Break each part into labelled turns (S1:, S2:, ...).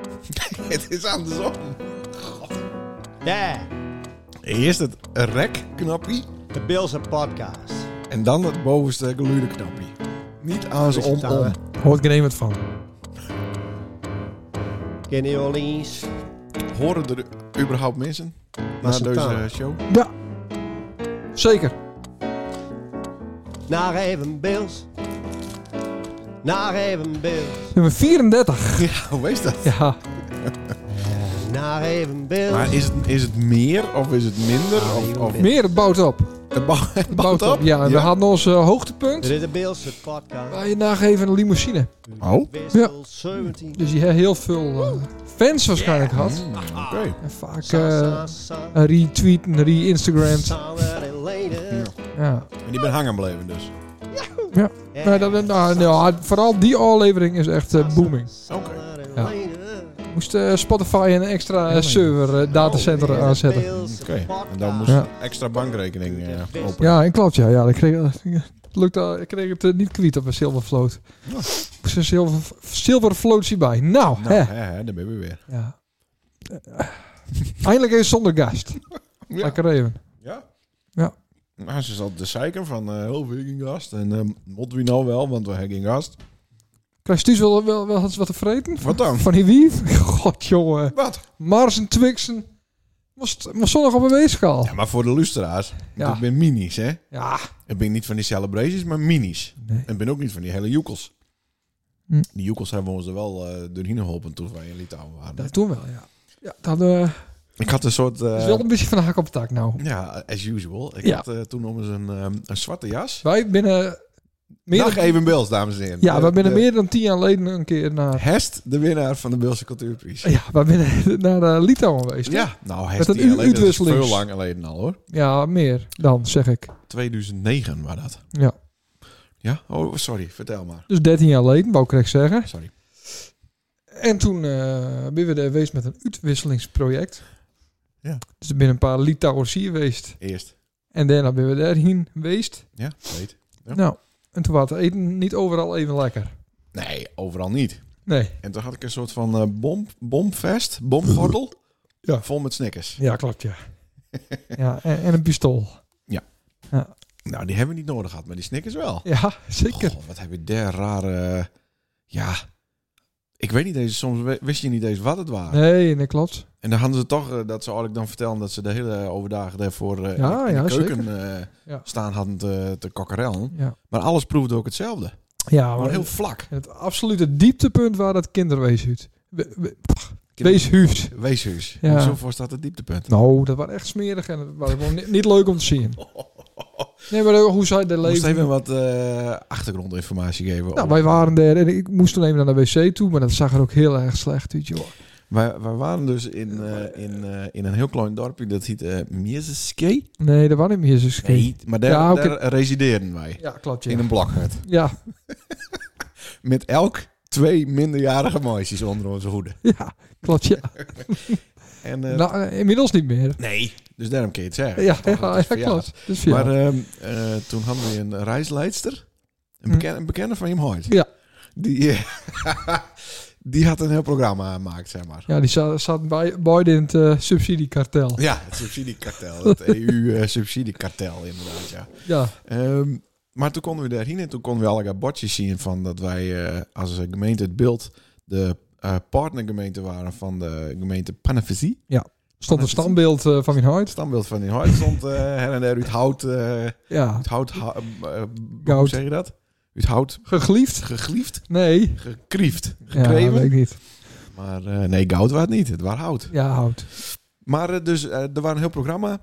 S1: het is andersom.
S2: Ja,
S1: Eerst het rek-knappie
S2: de Bills en podcast.
S1: en dan het bovenste geluidenknappie. Niet aan ze
S2: Dus
S1: om
S2: het aan,
S1: om.
S3: Hoort geen een wat van.
S2: Kenny Orleans.
S1: Horen er überhaupt mensen na
S2: is het
S1: deze
S2: aan?
S1: show?
S3: Ja. Zeker.
S2: Naar even Bills. Naar even Bills.
S3: Nummer 34.
S1: Ja, hoe is dat?
S3: Ja.
S2: Naar even Bills.
S1: Maar is het, is het meer of is het minder? Of, of,
S3: Meer het bouwt op.
S1: het bou- het bouwt
S3: Bouwt op.
S1: op?
S3: Ja, en we hadden ons eh, hoogtepunt.
S2: Dit is de Bills en podcast.
S3: Waar je nageven een limousine.
S1: Oh.
S2: Wissel 17.
S3: Dus die he- heel veel eh, fans waarschijnlijk had.
S1: Mm, Oké.
S3: En vaak
S2: Sa,
S3: eh
S2: sa, sa.
S3: retweeten, re-instagramd.
S2: Summer and later.
S3: Ja.
S1: En die ben hangen blijven dus.
S3: Maar dat, nou, nou, vooral die aflevering is echt eh, booming.
S1: Oké.
S3: Ja. Moest eh, Spotify een extra eh, server eh, datacenter aanzetten.
S1: Oké. En dan moest
S3: Ja.
S1: extra bankrekening eh, open.
S3: Ja, en klopt ja. ja ik, kreeg, het lukte, ik kreeg het eh, niet kwiet op een zilvervloot.
S1: Ja.
S3: Moest een zilver, zilvervlootje bij. Nou,
S1: Oh. Nou,
S3: hè.
S1: hè, hè, daar ben je weer.
S3: Ja. Eh, Eindelijk eens zonder gast.
S1: Ja.
S3: Lekker even.
S1: ja.
S3: Ja.
S1: Nou, ze zat de zeiken van eh heel veel geen gast. En eh moeten we nou wel, want we hebben geen gast.
S3: Krijg je thuis wel, wel, wel eens wat te vreten?
S1: Wat dan?
S3: Van die wief? God, jongen.
S1: Wat?
S3: Mars en Twixen. Moest, moest zonnig op een weegschaal.
S1: Ja, maar voor de luisteraars,
S3: Ja.
S1: ik ben minis, hè?
S3: Ja.
S1: Ik ben niet van die celebraties, maar minis.
S3: Nee.
S1: En ben ook niet van die hele joekels.
S3: Hm.
S1: Die joekels hebben ons er wel eh doorheen geholpen toen wij in Litouwen waren.
S3: Dat doen we wel, ja. Ja, dat eh,
S1: Ik had een soort... eh,
S3: is wel een beetje van de hak op de tak nou.
S1: Ja, as usual. Ik
S3: Ja.
S1: had eh, toen nog eens een, ehm, een zwarte jas.
S3: Wij binnen... Meer
S1: Dag
S3: dan,
S1: even Bils, dames en heren.
S3: ja,
S1: De-
S3: wij binnen
S1: de-
S3: meer dan tien jaar geleden een keer naar...
S1: Hest, de winnaar van de Beelse Cultuurprijs.
S3: Ja, wij binnen naar eh, Litouwen geweest. hè?
S1: Ja, nou Hest
S3: een
S1: die alleen, dat is
S3: uitwisseling.
S1: veel lang geleden al hoor.
S3: Ja, meer dan, zeg ik.
S1: 2009 was dat.
S3: Ja.
S1: Ja? Oh, sorry. Vertel maar.
S3: Dus 13 jaar geleden, wou ik recht zeggen.
S1: Sorry.
S3: En toen eh ben we er geweest met een uitwisselingsproject.
S1: Ja.
S3: Dus er binnen een paar Litouwers hier geweest.
S1: Eerst.
S3: En daarna ben we daarheen geweest.
S1: Ja, weet. Ja.
S3: Nou, en toen was het eten niet overal even lekker.
S1: Nee, overal niet.
S3: Nee.
S1: En toen had ik een soort van eh, bom, bomfest, bomgordel.
S3: Ja.
S1: Vol met snickers.
S3: Ja, klopt, ja. ja, en, en een pistool.
S1: Nou, die hebben we niet nodig gehad, maar die snickers wel.
S3: Ja, zeker.
S1: Goh, wat heb je daar rare... eh, ja... Ik weet niet eens, soms we- wist je niet eens wat het waren.
S3: Oh. Nee, nee, klopt.
S1: En dan hadden ze toch, eh, dat ze eigenlijk dan vertellen dat ze de hele overdagen daarvoor eh,
S3: Ja,
S1: in de
S3: ja,
S1: keuken eh,
S3: Ja.
S1: staan hadden te, te kokkerellen.
S3: Ja,
S1: Maar alles proefde ook hetzelfde.
S3: ja
S1: Gewoon
S3: maar
S1: heel vlak.
S3: het absolute dieptepunt waar dat kinderweeshuis. We- we- Weeshuis.
S1: Weeshuis.
S3: Ja.
S1: Zo voor staat het dieptepunt.
S3: Nou, dat was echt smerig en dat was gewoon ni- niet leuk om te zien. Nee, maar eh, hoe zij de
S1: Ik moest
S3: leven...
S1: even wat eh, achtergrondinformatie geven.
S3: Nou, wij waren daar en ik moest toen even naar de wc toe, maar dat zag er ook heel erg slecht uit, joh.
S1: wij, wij waren dus in, eh, in, eh, in een heel klein dorpje, dat heet eh Miezeske.
S3: Nee, dat was niet meer zo
S1: Nee, maar daar,
S3: Ja, oké.
S1: daar resideerden wij.
S3: Ja, klopt,
S1: In
S3: ja.
S1: een blokhut.
S3: Ja,
S1: Met elk twee minderjarige meisjes onder onze hoede.
S3: ja, klopt, ja.
S1: En, eh,
S3: Nou, eh, inmiddels niet meer.
S1: Nee. Dus daarom kun je het
S3: Ja,
S1: zeggen.
S3: ja,
S1: Toch, dat is
S3: ja,
S1: verjaard.
S3: klopt. Dus ja.
S1: Maar ehm, eh, toen hadden we een reisleidster. Een,
S3: Hm.
S1: beken- een bekende van je Hoyt.
S3: Ja.
S1: Die, eh, die had een heel programma gemaakt, zeg maar.
S3: ja, die za- zaten bij, beide in het eh, subsidiekartel.
S1: Ja, het subsidiekartel. Het E EU-subsidiekartel, inderdaad, ja.
S3: Ja,
S1: Ehm, maar toen konden we daarheen en toen konden we allerlei bordjes zien van dat wij eh, als een gemeente het beeld de eh, partnergemeente waren van de gemeente Panavisie.
S3: stond een standbeeld eh, van mijn huid.
S1: Standbeeld van die Hoyt stond eh, her en der uit hout, eh,
S3: Ja,
S1: uit hout, hou- eh, eh, hoe
S3: Goud.
S1: zeg je dat? Uit hout
S3: gegliefd?
S1: gegliefd.
S3: Nee.
S1: gekriefd,
S3: Ja,
S1: gekreven.
S3: weet ik niet.
S1: maar eh, nee, goud was het niet. Het was hout.
S3: Ja, hout.
S1: Maar eh, dus, eh, er was een heel programma. En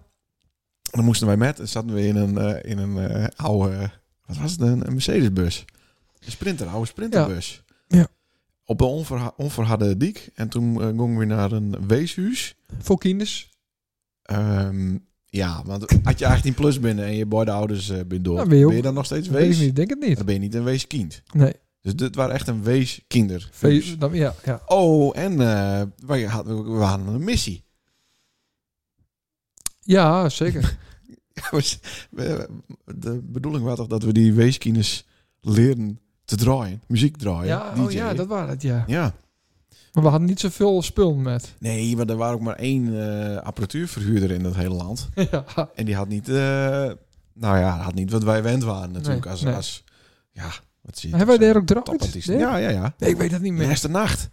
S1: dan moesten wij met. En zaten we in een, eh, in een eh, oude... Wat was het? Een, een Mercedes-bus. Een sprinter, een oude sprinterbus.
S3: Ja.
S1: Op een onverha- onverharde diek. En toen eh, gingen we naar een weeshuis.
S3: Voor kinders?
S1: Ehm, ja, want had je 18 plus binnen en je beide ouders eh bent door.
S3: Dan ben
S1: ben,
S3: je
S1: je
S3: Nou, ook-
S1: dan nog steeds
S3: Weet ik
S1: wees?
S3: niet, denk het niet.
S1: Dan ben je niet een weeskind.
S3: Nee.
S1: Dus dit waren echt een weeskinder.
S3: Ve- dan, ja, ja.
S1: Oh, en eh, wij hadden, we hadden een missie.
S3: ja, zeker.
S1: We- we- De bedoeling was toch dat we die weeskines leren te draaien, muziek draaien.
S3: Oh Ja,
S1: DJ.
S3: oh ja, dat waren het, ja.
S1: Ja.
S3: Maar we hadden niet zoveel spul met.
S1: Nee, want er waren ook maar één eh, apparatuurverhuurder in dat hele land.
S3: ja.
S1: En die had niet, eh, nou ja, had niet wat wij wend waren natuurlijk.
S3: Nee,
S1: als,
S3: nee.
S1: als, ja, wat zie je.
S3: Hebben wij
S1: Zo'n
S3: daar ook draait?
S1: topartiesten. Ja, ja, ja.
S3: Nee, ik weet dat niet
S1: De
S3: meer.
S1: eerste nacht.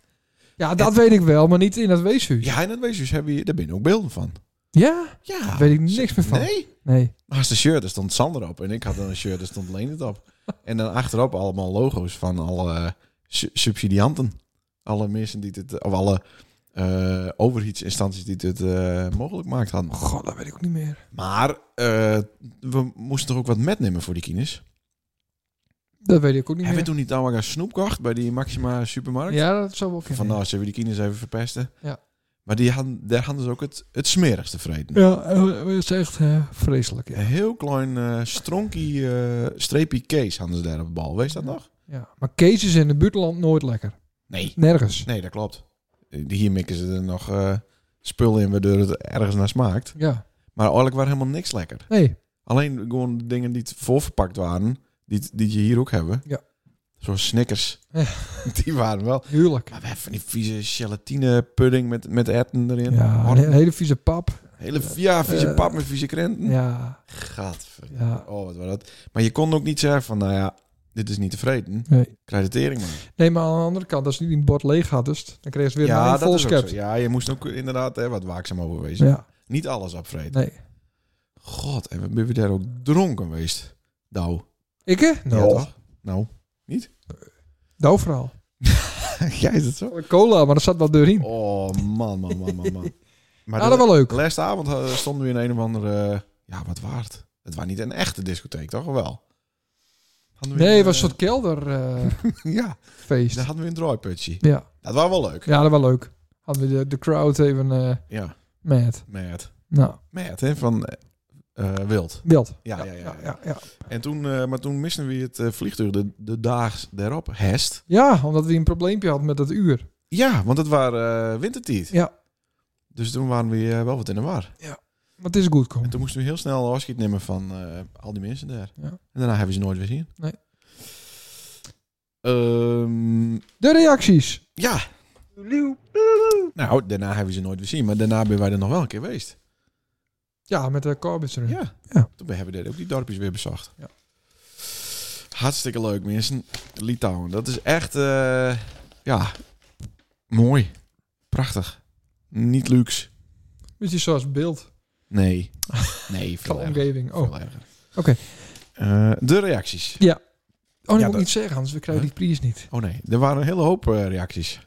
S3: Ja, dat weet ik wel, maar niet in dat weeshuis.
S1: Ja, en dat weeshuis hebben we, daar ben je ook beelden van.
S3: Ja?
S1: Ja.
S3: Daar weet ik niks meer van.
S1: Nee?
S3: Nee.
S1: Maar als de shirt, daar stond Sander op. En ik had dan een shirt, daar stond Leen het op. En dan achterop allemaal logo's van alle eh, su- subsidianten. Alle mensen die dit, of alle eh, overheidsinstanties die dit eh, mogelijk maakt hadden.
S3: God, dat weet ik ook niet meer.
S1: Maar eh, we moesten toch ook wat metnemen voor die kines.
S3: Dat weet ik ook niet
S1: Hebben we
S3: meer.
S1: toen niet allemaal gaan snoep gekocht bij die Maxima supermarkt?
S3: Ja, dat zou wel kunnen.
S1: Van nou, zullen we die kines even verpesten?
S3: Ja.
S1: Maar die hadden, daar hadden ze ook het, het smerigste vreten.
S3: Ja, eh, het is echt eh, vreselijk. Ja.
S1: Een heel klein eh stronkie eh, streepje Kees hadden ze daar op de bal. Wees dat
S3: Ja.
S1: nog?
S3: Ja. Maar Kees is in het buitenland nooit lekker.
S1: Nee.
S3: Nergens.
S1: Nee, dat klopt. Eh, Hier mikken ze er nog eh spul in waardoor het ergens naar smaakt.
S3: Ja.
S1: Maar eigenlijk waren helemaal niks lekker.
S3: Nee.
S1: Alleen gewoon de dingen die het voorverpakt waren, die, het- die je hier ook hebben.
S3: Ja.
S1: Zoals Snickers.
S3: Ja.
S1: Die waren wel.
S3: Huwelijk.
S1: Maar we hebben van die vieze gelatine pudding met, met erwten erin.
S3: Ja,
S1: Oh,
S3: een hele vieze pap.
S1: hele ja, vieze
S3: Eh,
S1: pap met vieze krenten.
S3: Ja.
S1: Gadver.
S3: Ja.
S1: Oh, wat was dat. Maar je kon ook niet zeggen van, nou ja, dit is niet tevreden.
S3: Nee.
S1: Krijg de tering maar.
S3: nee, maar aan de andere kant, als je niet een bord leeg had, dus, dan kreeg je weer
S1: ja,
S3: een
S1: dat
S3: vol
S1: is ook
S3: schept.
S1: zo. Ja, je moest ook inderdaad hè, wat waakzaam over wezen.
S3: Ja.
S1: Niet alles opvreten.
S3: Nee.
S1: God, en we ben je daar ook dronken geweest? Nou.
S3: Ik, hè?
S1: Ja,
S3: Nou,
S1: toch? Nou.
S3: nou vooral.
S1: Jij is het zo?
S3: Cola, maar dat zat wel doorheen.
S1: Oh, man, man, man, man, man. Maar
S3: Nou, dat was leuk.
S1: Lestavond eh, stonden we in een of andere... eh, ja, wat waard. Het was niet een echte discotheek, toch? Of wel? Hadden we
S3: Nee,
S1: een,
S3: het was
S1: eh,
S3: een soort kelderfeest.
S1: ja, daar hadden we een draaiputje.
S3: ja.
S1: Dat was wel leuk.
S3: ja, dat was leuk. Hadden we de, de crowd even eh
S1: Ja,
S3: mad.
S1: Matt.
S3: Nou,
S1: Matt, hè, van eh, eh, Wild.
S3: beeld.
S1: Ja, ja, ja.
S3: ja,
S1: ja.
S3: ja, ja.
S1: En toen, eh, maar toen misten we het eh, vliegtuig de, de dag daarop. Hest.
S3: Ja, omdat we een probleempje hadden met dat uur.
S1: Ja, want het waren eh wintertijd.
S3: Ja.
S1: Dus toen waren we eh, wel wat in de war.
S3: Maar het is goed
S1: En
S3: komen.
S1: toen moesten we heel snel afscheid nemen van eh, al die mensen daar.
S3: Ja.
S1: En daarna hebben we ze nooit weer zien.
S3: Nee.
S1: Ehm,
S3: De reacties.
S1: ja. Nou, daarna hebben we ze nooit weer zien. Maar daarna ben wij er nog wel een keer geweest.
S3: Ja, met de Corbits erin.
S1: Ja.
S3: Ja.
S1: Toen hebben we daar ook die dorpjes weer bezocht.
S3: Ja.
S1: Hartstikke leuk, mensen. Litouwen, dat is echt... eh, ja, mooi. Prachtig. Niet luxe.
S3: Beetje zoals beeld
S1: Nee. Nee,
S3: van
S1: veel
S3: de
S1: erger.
S3: omgeving. Oh,
S1: Veel erger.
S3: Oké.
S1: Eh, de reacties.
S3: oh dat
S1: Ja,
S3: moet ik
S1: dat-
S3: niet zeggen, anders we krijgen die prijs niet.
S1: Oh nee, er waren een hele hoop eh, reacties.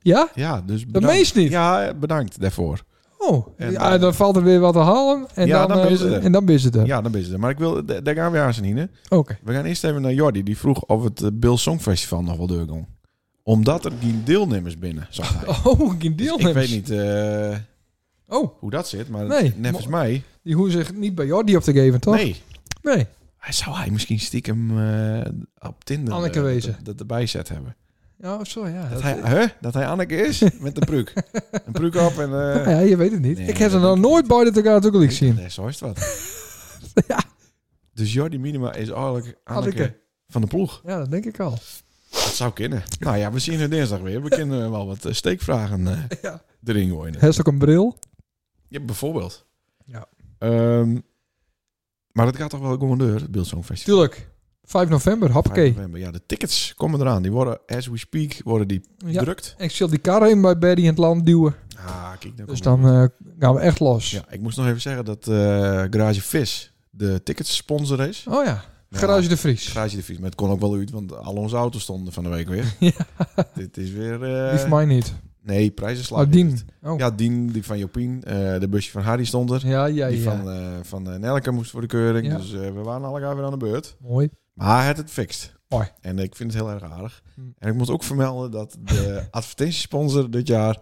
S3: Ja?
S1: Ja, dus
S3: De
S1: bedankt.
S3: meest niet?
S1: Ja, eh, bedankt daarvoor.
S3: Oh,
S1: En,
S3: ja,
S1: eh,
S3: dan valt er weer wat te halen. En
S1: Ja, dan
S3: eh,
S1: ben je er.
S3: En dan ben je er.
S1: Ja, dan ben je er. Maar ik wil, d- daar gaan we aan zijn, Hine.
S3: Oké.
S1: We gaan eerst even naar Jordi. Die vroeg of het eh, Bill Song Festival nog wel doorging. Omdat er geen deelnemers binnen, zag hij.
S3: Oh, geen
S1: Dus
S3: deelnemers.
S1: ik weet niet eh,
S3: Oh,
S1: hoe dat zit, maar
S3: Nee,
S1: neffens
S3: maar-
S1: mij.
S3: die hoeven zich niet bij Jordi op te geven, toch?
S1: Nee.
S3: Nee.
S1: Hij Zou hij misschien stiekem eh, op Tinder
S3: Anneke
S1: eh,
S3: wezen.
S1: dat, dat erbij zet hebben?
S3: Oh, zo ja.
S1: Dat
S3: Dat-
S1: hij, hè? dat hij Anneke is met de pruik. een pruik op en... eh,
S3: ja, je weet het niet.
S1: Nee,
S3: ik heb ze
S1: dat
S3: nog
S1: denk ik
S3: nooit
S1: niet.
S3: bij de elkaar ook al
S1: Nee,
S3: zien.
S1: Nee, zo is het wat. Dus Jordi Minima is eigenlijk Anneke,
S3: Anneke.
S1: van de ploeg.
S3: Ja, dat denk ik al.
S1: Dat zou kunnen. Nou ja, we zien het dinsdag weer. We kunnen wel wat eh, steekvragen eh
S3: Ja.
S1: erin gooien.
S3: Hij heeft ook een bril.
S1: Ja, bijvoorbeeld.
S3: Ja.
S1: Ehm, maar het gaat toch wel gewoon door, het Beeldsong Festival.
S3: Tuurlijk. 5 november, hoppakee.
S1: 5 november. Ja, de tickets komen eraan. Die worden, as we speak, worden die
S3: Ja.
S1: drukt.
S3: Ik zal die karren in bij Barry in het land duwen.
S1: Ah, kijk. daar
S3: Dus
S1: komt
S3: dan
S1: het.
S3: eh, gaan we echt los.
S1: Ja, ik moest nog even zeggen dat eh, Garage Vis de tickets sponsor is.
S3: Oh ja. Garage de Vries.
S1: Garage de Vries. Maar het kon ook wel uit, want al onze auto's stonden van de week weer.
S3: Ja.
S1: Dit is weer... eh,
S3: Die van mij niet.
S1: nee, prijzen slaan.
S3: Oh, Dien. Oh. Ja,
S1: Ja, Dien, die van Jopien. eh, de busje van Harry stond er.
S3: ja, ja.
S1: Die van, eh, van eh, Nelke moest voor de keuring.
S3: Ja.
S1: Dus eh, we waren allemaal weer aan de beurt.
S3: Mooi.
S1: Maar hij had het fixt.
S3: Mooi.
S1: En ik vind het heel erg aardig.
S3: Hm.
S1: En ik moet ook vermelden dat de advertentiesponsor dit jaar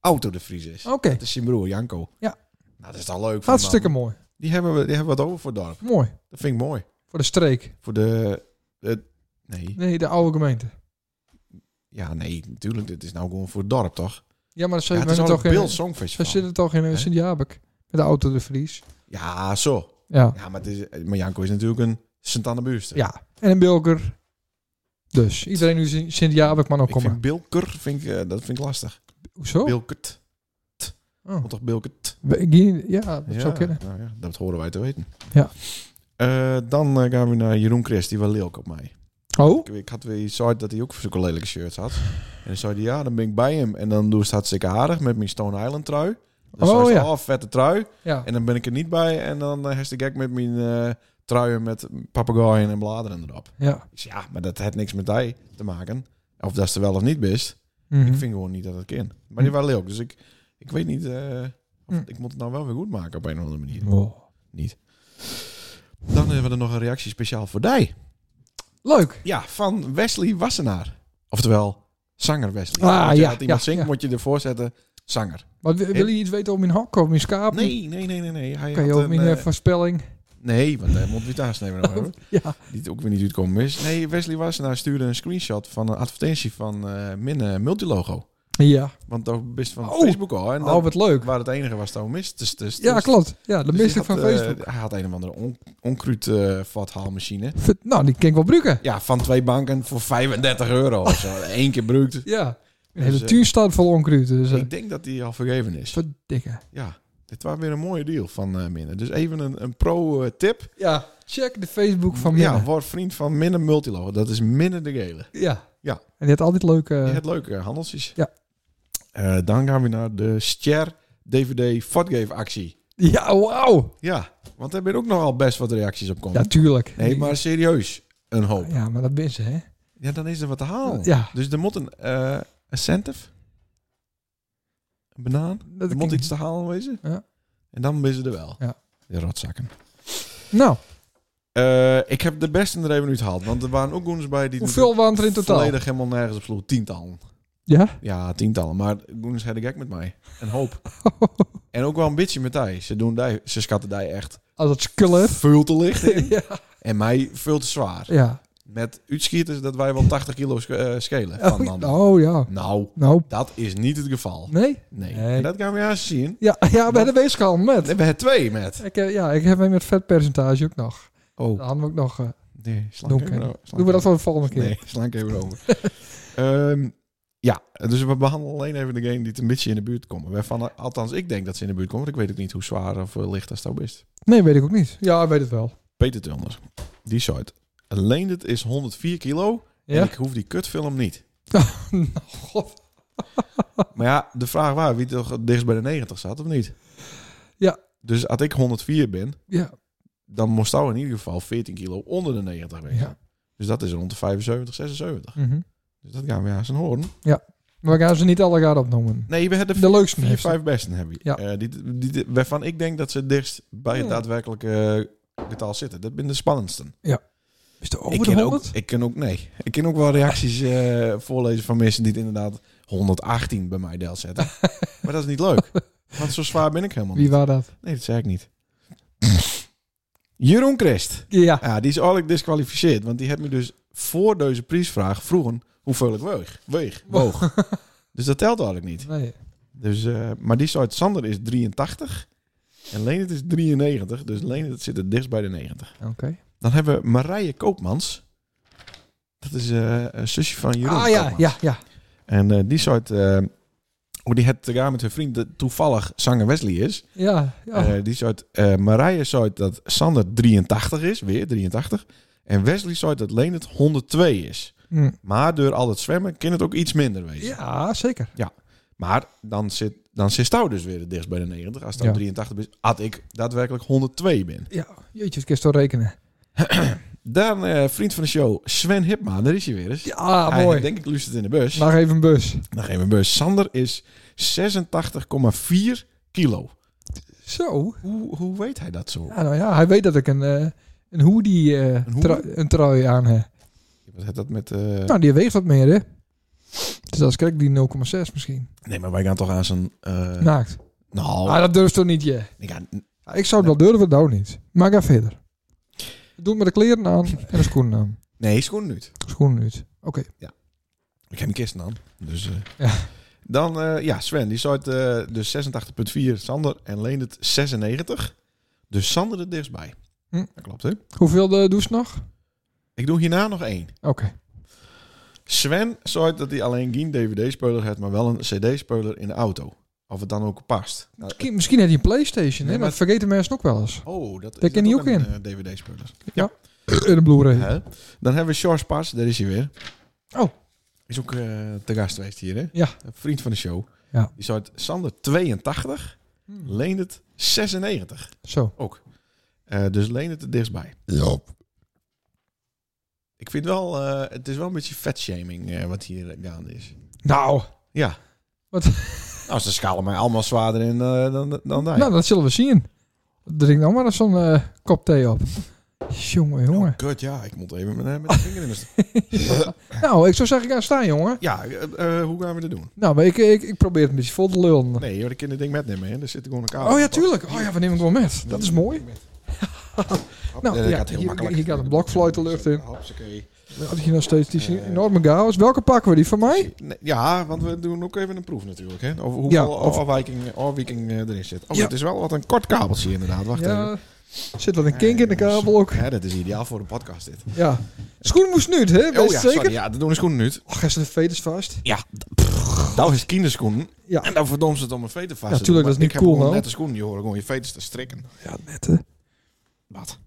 S1: Auto de Vries is.
S3: Oké.
S1: Dat is zijn broer Janko.
S3: Oh. Ja.
S1: Nou, dat is dan leuk. van
S3: Hartstikke
S1: man.
S3: mooi.
S1: Die hebben, we, die hebben wat over voor het dorp.
S3: Mooi.
S1: Dat vind ik mooi.
S3: Voor de streek.
S1: Voor de... de nee.
S3: Nee, de oude gemeente.
S1: Ja, nee, natuurlijk. Dit is nou gewoon voor het dorp, toch?
S3: Ja, maar ze
S1: Ja, het is
S3: zitten
S1: al
S3: toch eh,
S1: een Beeld
S3: in... Ze
S1: Songfestival.
S3: zitten toch in eh,
S1: Hè?
S3: Sint-Jabek. Met de auto de Vries.
S1: Ja, zo.
S3: Ja.
S1: Ja, maar, het is, maar Janko is natuurlijk een sint anne
S3: Ja. En een Bilker. Dus iedereen nu zin- zin ja, ik maar nou
S1: Ik vind
S3: komen.
S1: Bilker, vind ik, eh, dat vind ik lastig.
S3: Hoezo?
S1: Bilkert.
S3: Oh.
S1: Want toch Bilkert?
S3: We- ik- Ja, dat zou kunnen.
S1: nou ja, dat horen wij te weten.
S3: Ja.
S1: Eh, dan eh, gaan we naar Jeroen Christ, die wel leuk op mij.
S3: Oh,
S1: Ik, ik had weer iets uit dat hij ook zulke lelijke shirts had. En dan zei hij, ja, dan ben ik bij hem. En dan doe ze het hartstikke aardig met mijn Stone Island trui. Dan
S3: Oh,
S1: zei ze,
S3: ja.
S1: oh, vette trui.
S3: ja.
S1: En dan ben ik er niet bij. En dan eh, heeft de gek met mijn eh, truien met papegaaien en bladeren erop.
S3: ja.
S1: Ik zei, ja, maar dat heeft niks met hij te maken. Of dat ze wel of niet best.
S3: Mhm.
S1: Ik vind gewoon niet dat het kan. Maar die
S3: Hm.
S1: waren leuk. Dus ik, ik weet niet... eh, of-
S3: Hm.
S1: Ik moet het nou wel weer goed maken op een of andere manier.
S3: Oh.
S1: Dan hebben we er nog een reactie speciaal voor Dij.
S3: Leuk.
S1: Ja, van Wesley Wassenaar. Oftewel, zanger Wesley.
S3: Ah,
S1: Want, eh,
S3: ja,
S1: als iemand
S3: ja,
S1: zingt,
S3: ja.
S1: moet je ervoor zetten zanger.
S3: Maar wi- wil je iets weten over mijn hak of mijn schaap?
S1: Nee, nee, nee, nee. nee. Hij
S3: Kan je
S1: had
S3: ook
S1: een,
S3: mijn eh,
S1: eh,
S3: voorspelling?
S1: nee, want hij moet weer thuis nemen. nog hebben.
S3: Ja.
S1: Die ook weer niet uitkomen is. Nee, Wesley Wassenaar stuurde een screenshot van een advertentie van eh Min eh, Multilogo.
S3: Ja.
S1: Want dat best van
S3: Oh.
S1: Facebook al. En
S3: Oh,
S1: dat
S3: wat leuk.
S1: waar het enige was dat we mist. Dus, dus,
S3: Ja,
S1: dus-
S3: klopt. Ja, de
S1: dus
S3: meeste
S1: die
S3: van
S1: had, eh,
S3: Facebook.
S1: hij had een of andere on onkruidvathaalmachine.
S3: Ver- Nou, die kan ik wel gebruiken.
S1: ja, van twee banken voor 35 euro of zo. Eén keer bruikt.
S3: Ja. Een
S1: Dus,
S3: hele
S1: eh,
S3: tuin staat vol onkruid. Dus, eh,
S1: Ik denk dat die al vergeven is.
S3: verdikke.
S1: Ja, dit was weer een mooie deal van eh Minne. Dus even een, een pro-tip.
S3: Ja, check de Facebook van mij.
S1: Ja,
S3: Ja.
S1: word vriend van Minne Multilogo. Dat is Minne de Gele. Ja.
S3: En die had altijd leuke...
S1: Je hebt leuke handeltjes.
S3: Eh, Ja.
S1: Eh, dan gaan we naar de Ster DVD Fotgave actie.
S3: Ja, wauw.
S1: Ja, want daar ben ook nogal best wat reacties op komen.
S3: Ja, tuurlijk.
S1: nee, maar serieus. Een hoop.
S3: Ja, maar dat ben ze, hè?
S1: Ja, dan is er wat te halen.
S3: Ja.
S1: Dus er moet een eh incentive. Een banaan.
S3: Dat
S1: Er
S3: ik-
S1: moet iets te halen wezen.
S3: Ja.
S1: En dan ben ze er wel.
S3: Ja.
S1: De rotzakken.
S3: Nou,
S1: Eh, ik heb de beste er even uitgehaald. Want er waren ook goens bij die...
S3: hoeveel waren er in totaal?
S1: Volledig helemaal nergens op sloeg. Tientallen.
S3: Ja?
S1: Ja, tientallen. Maar goens hadden gek met mij. Een hoop. en ook wel een beetje met hij. Ze, doen die, ze schatten die echt
S3: Als het skullen.
S1: veel te licht in.
S3: ja.
S1: en mij veel te zwaar.
S3: ja.
S1: Met uitschieters dat wij wel 80 kilo sch- eh, schelen.
S3: Oh,
S1: Van dan.
S3: nou, ja.
S1: Nou,
S3: Nou,
S1: dat is niet het geval.
S3: nee.
S1: Nee.
S3: Nee.
S1: En dat gaan we juist zien.
S3: Ja, ja bij de weegschaal
S1: We
S3: met.
S1: hebben er twee met.
S3: Ik, eh, ja, ik heb hem met vetpercentage ook nog.
S1: Oh,
S3: Dan hadden we ook nog... eh,
S1: nee. Slank
S3: donker. Doen we dat voor de volgende keer?
S1: Nee, slank even over. Ehm, ja, dus we behandelen alleen even degene die het een beetje in de buurt komen. Waarvan, althans, ik denk dat ze in de buurt komen. Want ik weet ook niet hoe zwaar of eh, licht dat zo is.
S3: Nee, weet ik ook niet. Ja, ik weet het wel.
S1: Peter Tulner. Die site. Alleen dit is 104 kilo. En
S3: Ja?
S1: ik hoef die kutfilm niet.
S3: nou, god.
S1: Maar ja, de vraag was wie toch het dichtst bij de 90 zat of niet?
S3: Ja.
S1: Dus als ik 104 ben,
S3: Ja.
S1: dan moest jou in ieder geval 14 kilo onder de 90 wezen.
S3: Ja.
S1: Dus dat is rond de 75, 76.
S3: Mhm.
S1: Dus dat gaan we aan zijn horen.
S3: Maar we gaan ze niet alle gaan opnoemen.
S1: Nee, we hebben
S3: De leukste
S1: vier,
S3: heeft ze.
S1: vijf besten hebben we.
S3: Ja.
S1: Eh, die, die, die- waarvan ik denk dat ze het dichtst bij het
S3: Ja.
S1: daadwerkelijke eh, getal zitten. Dat zijn de spannendsten.
S3: Is de
S1: ik
S3: over de
S1: ken ook,
S3: 100?
S1: ik ken ook, nee. Ik ken ook wel reacties eh, voorlezen van mensen die het inderdaad 118 bij mij deel zetten. maar dat is niet leuk. Want zo zwaar ben ik helemaal
S3: Wie
S1: niet.
S3: was dat?
S1: Nee, dat zei ik niet. Jeroen Christ.
S3: Ja.
S1: Ja, die is eigenlijk disqualificeerd. Want die heeft me dus voor deze prijsvraag vroegen hoeveel ik weeg. Weeg. Woog. dus dat telt eigenlijk niet.
S3: Nee.
S1: Dus, eh, maar die soort Sander is 83. En Leendert is 93. Dus Leendert zit het dichtst bij de 90.
S3: Oké.
S1: Dan hebben we Marije Koopmans. Dat is eh, een zusje van Jeroen
S3: Ah ja,
S1: Koopmans.
S3: ja, ja.
S1: En eh, die soort... eh hoe die het te gaan met haar vriend, dat toevallig zanger Wesley is.
S3: Ja, ja.
S1: Eh, die soort, eh Marije soort dat Sander 83 is, weer 83. En Wesley soort dat Leendert 102 is.
S3: Hm.
S1: Maar door al het zwemmen kan het ook iets minder wezen.
S3: Ja, zeker.
S1: Maar dan zit, dan zit Stouw dus weer het dichtst bij de 90. Als Stouw
S3: Ja.
S1: 83 is, had ik daadwerkelijk 102 ben.
S3: Ja, jeetje, ik kan zo rekenen.
S1: Dan eh, vriend van de show, Sven Hipma. Daar is hij weer eens.
S3: Ja,
S1: Hij,
S3: Ah, mooi.
S1: denk ik luistert in de bus.
S3: Nog even een bus.
S1: Dan geven we een bus. Sander is 86,4 kilo.
S3: Zo.
S1: Hoe, hoe weet hij dat zo?
S3: Ja, nou ja, hij weet dat ik een, eh een hoodie, eh,
S1: hoodie?
S3: trui- een trui aan heb.
S1: Wat heeft dat met... eh,
S3: Nou, die weegt wat meer, hè? Dus dat is kijk die 0,6 misschien.
S1: Nee, maar wij gaan toch aan zijn... eh,
S3: Naakt.
S1: Nou,
S3: Ah, dat durft toch niet, je?
S1: ik ga-
S3: Ik zou het wel durven, nou niet. Maar ga verder. Doe maar de kleren aan en de schoenen aan.
S1: nee, schoen niet.
S3: Schoenen uit. Oké.
S1: Ik heb mijn kisten aan. Dus, eh.
S3: Ja.
S1: Dan, eh, ja, Sven, die soort eh dus 86,4 Sander en Leendert 96. Dus Sander er dichtstbij.
S3: Hm.
S1: Dat klopt, hè?
S3: Hoeveel eh, doe ze nog?
S1: Ik doe hierna nog één.
S3: Oké.
S1: Sven zei dat hij alleen geen DVD-speler had, maar wel een CD-speler in de auto. Of het dan ook past. Nou,
S3: Misschien, misschien heeft hij een Playstation,
S1: Nee,
S3: hè?
S1: maar-
S3: dat vergeten mensen ook wel eens.
S1: oh, dat
S3: Daar
S1: is
S3: ken
S1: dat
S3: je ook
S1: een,
S3: in.
S1: eh, DVD-speler.
S3: In de Blu-ray.
S1: Hè? Dan hebben we George Pas, daar is hij weer.
S3: Oh.
S1: Is ook eh, te gast geweest hier, hè?
S3: Ja.
S1: Een vriend van de show.
S3: Ja.
S1: Die zei het, Sander 82,
S3: Hmm.
S1: Leendert 96.
S3: Zo.
S1: Ook. Eh, dus leen het er dichtstbij.
S2: Ja.
S1: Ik vind wel, eh, het is wel een beetje vetshaming eh, wat hier gaande is.
S3: Nou,
S1: Ah, Ja.
S3: Wat?
S1: Nou, ze schalen mij allemaal zwaarder in eh, dan, dan daar.
S3: nou dat zullen we zien. Drink nou maar eens zo'n eh, kop thee op. Jongen, jongen.
S1: Oh, kut, ja, ik moet even met, eh, met de vinger in de st-
S3: Nou, ik zou zeggen, ga staan, jongen.
S1: Ja, eh, eh, hoe gaan we dat doen?
S3: Nou, maar ik, ik, ik probeer het een beetje vol te lullen.
S1: Nee, joh, ik kan dit ding metnemen, hè. Er zit gewoon een kabel.
S3: Oh ja,
S1: op.
S3: tuurlijk. Oh ja, we nemen het wel met. Dat is mooi.
S1: Hop,
S3: Nou,
S1: eh, dat
S3: ja,
S1: gaat heel
S3: hier-
S1: makkelijk.
S3: hier gaat een blokfluit de lucht in.
S1: Hopsakee.
S3: Had je nog steeds die enorme chaos. Welke pakken we? Die van mij?
S1: Nee, ja, want we doen ook even een proef natuurlijk, hè. Over hoeveel
S3: Ja, of-
S1: afwijking, afwijking eh, erin zit. Oh,
S3: Ja.
S1: het is wel wat een kort kabeltje inderdaad. Wacht even.
S3: Ja. Zit wat een kink in de kabel ook.
S1: Ja, dat is ideaal voor een podcast dit.
S3: Ja. Schoen moest nu, hè? Weet
S1: Oh
S3: je
S1: ja,
S3: zeker?
S1: sorry, ja, dat doen de schoenen nu.
S3: Och, hij zit de veters vast.
S1: Ja, dat is kinderschoenen.
S3: Oh, Ja.
S1: En dan verdomd ze het om mijn veten vast
S3: Ja,
S1: te
S3: tuurlijk,
S1: doen.
S3: dat is
S1: Maar
S3: niet cool, nou.
S1: Ik heb gewoon
S3: hoor.
S1: nette schoenen, die horen gewoon je veters te strikken.
S3: Ja, net hè.
S1: Wat?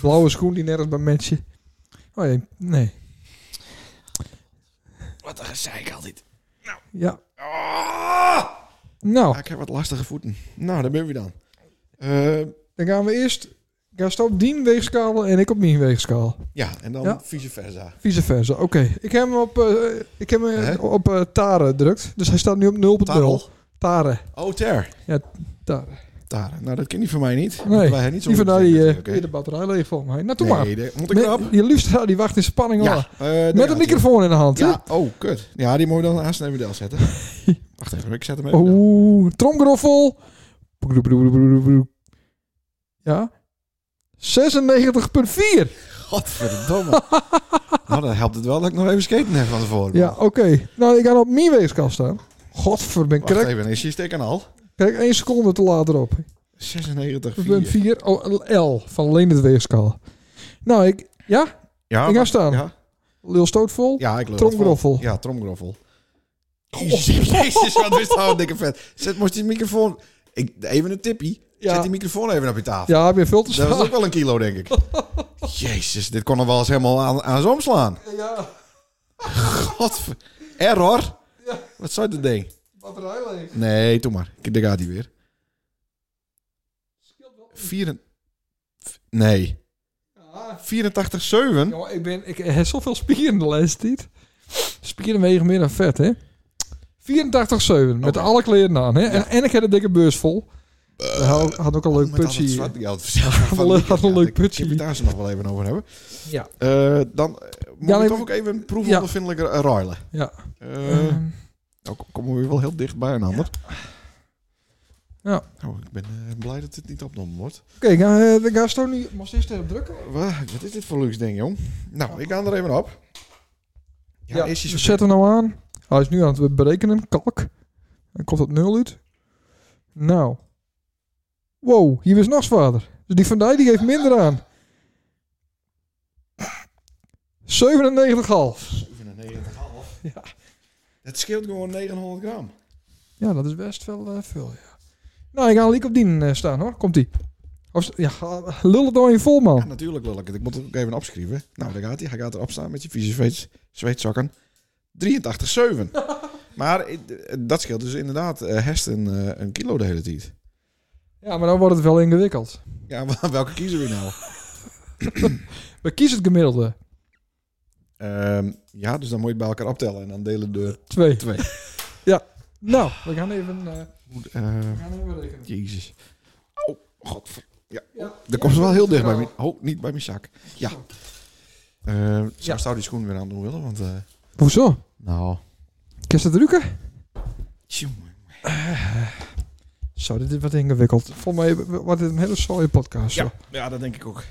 S3: Blauwe schoen die nergens bij matchen. Oh nee, nee.
S1: Wat een gezeik altijd.
S3: Ja.
S1: Ah!
S3: Nou,
S1: ik heb wat lastige voeten. Nou, daar ben je dan. Eh,
S3: dan gaan we eerst... Gaan staan op die weegschaal en ik op mijn weegschaal.
S1: ja, en dan
S3: Ja.
S1: vice versa.
S3: Vice versa. Oké. Ik heb hem op, eh, ik heb hem
S1: Hè?
S3: op eh, Tare gedrukt. Dus hij staat nu op 0.0.
S1: Tarrel.
S3: Tare.
S1: Oh, ter.
S3: Tare.
S1: Daar. Nou, dat ken die van mij niet.
S3: Nee,
S1: wij niet zo
S3: Die van daar
S1: goed
S3: die,
S1: zijn
S3: eh,
S1: natuurlijk,
S3: weer
S1: hè.
S3: de batterij leeg voor mij. Nou, doe maar.
S1: Nee, daar- moet ik erop?
S3: je luisteraar die wacht in spanning
S1: Ja.
S3: al.
S1: eh, daar
S3: Met
S1: gaat-ie.
S3: een microfoon in de hand. hè?
S1: Ja, oh, kut. Ja, die moet je dan haast naar model zetten. Wacht even, ik zet hem even.
S3: Oh. Oeh, tromgeroffel. Broe, broe, broe, broe, broe. Ja. 96,4.
S1: Godverdomme. nou, dan helpt het wel dat ik nog even skaten heb van tevoren.
S3: Ja, oké. Nou, ik ga op mijn weegskast staan. Godver, ben ik
S1: Wacht
S3: krek.
S1: even, is je steek aan al?
S3: Kijk, één seconde te laat erop.
S1: 96,
S3: Ik ben
S1: 4.
S3: 4 oh, L van Leen het weegschaal. Nou, ik, ja,
S1: Ja,
S3: ik ga
S1: maar-
S3: staan.
S1: Ja,
S3: Lil Stootvol.
S1: ja ik loop
S3: Tromgeroffel.
S1: Ja, tromgroffel. Oh, Jezus, wat is nou een dikke vet. Zet moest die microfoon... Ik, even een tippie.
S3: Ja.
S1: Zet die microfoon even op je tafel.
S3: Ja, weer veel te
S1: Dat was
S3: snel.
S1: ook wel een kilo, denk ik. Jezus, dit kon er wel eens helemaal aan, aan zo'n slaan.
S3: Ja,
S1: Godver... Error.
S3: Ja.
S1: Wat zou dat ding?
S3: batterij leeg.
S1: Nee, doe maar. Ik- Daar gaat hij weer. Vier en- Nee.
S3: Ah.
S1: 84,7?
S3: Jongen, ik, ben, ik heb zoveel spieren de laatste tijd. Spieren wegen meer dan vet, hè? 84,7 met
S1: Oké.
S3: alle kleren aan, hè? En, en ik heb een dikke beurs vol. Hij had- had ook een leuk
S1: Eh, Met al dat
S3: putje.
S1: zwarte geld verzamelen van
S3: Wel een-
S1: Lucas.
S3: wel een
S1: Ja,
S3: leuk
S1: daar kunnen
S3: putje.
S1: we het daar zo nog wel even over hebben.
S3: Ja.
S1: Eh, dan eh, moet
S3: Ja,
S1: ik
S3: nee,
S1: toch ook even een
S3: ja.
S1: proefondervindelijke ja. ruilen.
S3: Ja.
S1: Eh,
S3: Ehm,
S1: nou kom- komen we weer wel heel dicht bij een ander.
S3: Ja.
S1: Nou, ik ben eh, blij dat dit niet opgenomen wordt.
S3: Oké, ga eh, ik ga zo nu... Moest eerst even drukken?
S1: Wa- Wat is dit voor luxe ding, jong? Nou, ik ga er even op. Ja, is hij zo
S3: zet hem nou aan. Hij is nu aan het berekenen. Kalk. Dan komt het nul uit. Nou. Wow, hier is nog zwaarder. Dus die van Dijk die geeft minder aan. 97,5.
S1: 97,5.
S3: Ja.
S1: Het scheelt gewoon 900 gram.
S3: Ja, dat is best wel eh, veel, ja. Nou, ik ga liek op die eh, staan, hoor. Komt-ie. Of, ja, ga- lul het door je vol,
S1: Ja,
S3: man.
S1: natuurlijk wil ik het. Ik moet het ook even opschrijven. Nou, daar gaat hij. Hij gaat erop staan met je vieze zweet, zweetzakken. 83,7. maar eh, eh, dat scheelt dus inderdaad eh hest een, eh, een kilo de hele tijd.
S3: Ja, maar dan wordt het wel ingewikkeld.
S1: Ja, wa- welke kiezen we nou?
S3: We kiezen het gemiddelde.
S1: Ehm, ja, dus dan moet je het bij elkaar optellen en dan delen de...
S3: Twee.
S1: Twee.
S3: ja. Nou, we gaan even, eh,
S1: Hoe- eh,
S3: we gaan even rekenen.
S1: jezus. Oh, godver... Ja, Oh,
S3: Ja.
S1: daar komt ze wel heel dicht bij mijn... Oh, niet bij mijn zak. Ja. Ehm zou
S3: Ja.
S1: zou die schoen weer aan doen willen, want... eh,
S3: Hoezo?
S1: nou...
S3: Kun je dat drukken?
S1: Tjonge.
S3: Zo, dit is wat ingewikkeld. Volgens mij wordt dit een hele saaie podcast.
S1: Ja,
S3: zo.
S1: ja, dat denk ik ook.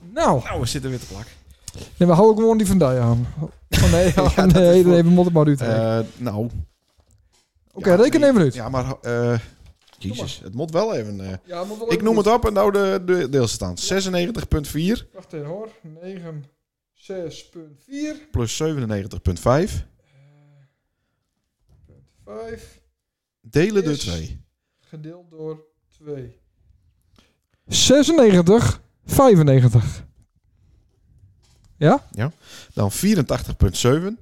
S3: Nou,
S1: Nou, we zitten weer te plak.
S3: nee, we houden gewoon die van Dijk aan. Oh, nee, oh,
S1: dat
S3: nee,
S1: is
S3: nee,
S1: voor-
S3: we moeten maar uit. Oké,
S1: Eh, nou, ja,
S3: reken
S1: die-
S3: even uit. Ja,
S1: Ja, maar... eh Jezus, het moet wel even... eh,
S3: maar wel
S1: ik
S3: even
S1: noem
S3: goed.
S1: het op en nou de, de deelstand. 96,4.
S3: Wacht even hoor. 9, 7,5. 6.4.
S1: plus 97,5
S3: Eh, 5
S1: delen door
S3: Is-
S1: 2.
S3: gedeeld door 2. 96, 95.
S1: Dan 84,7.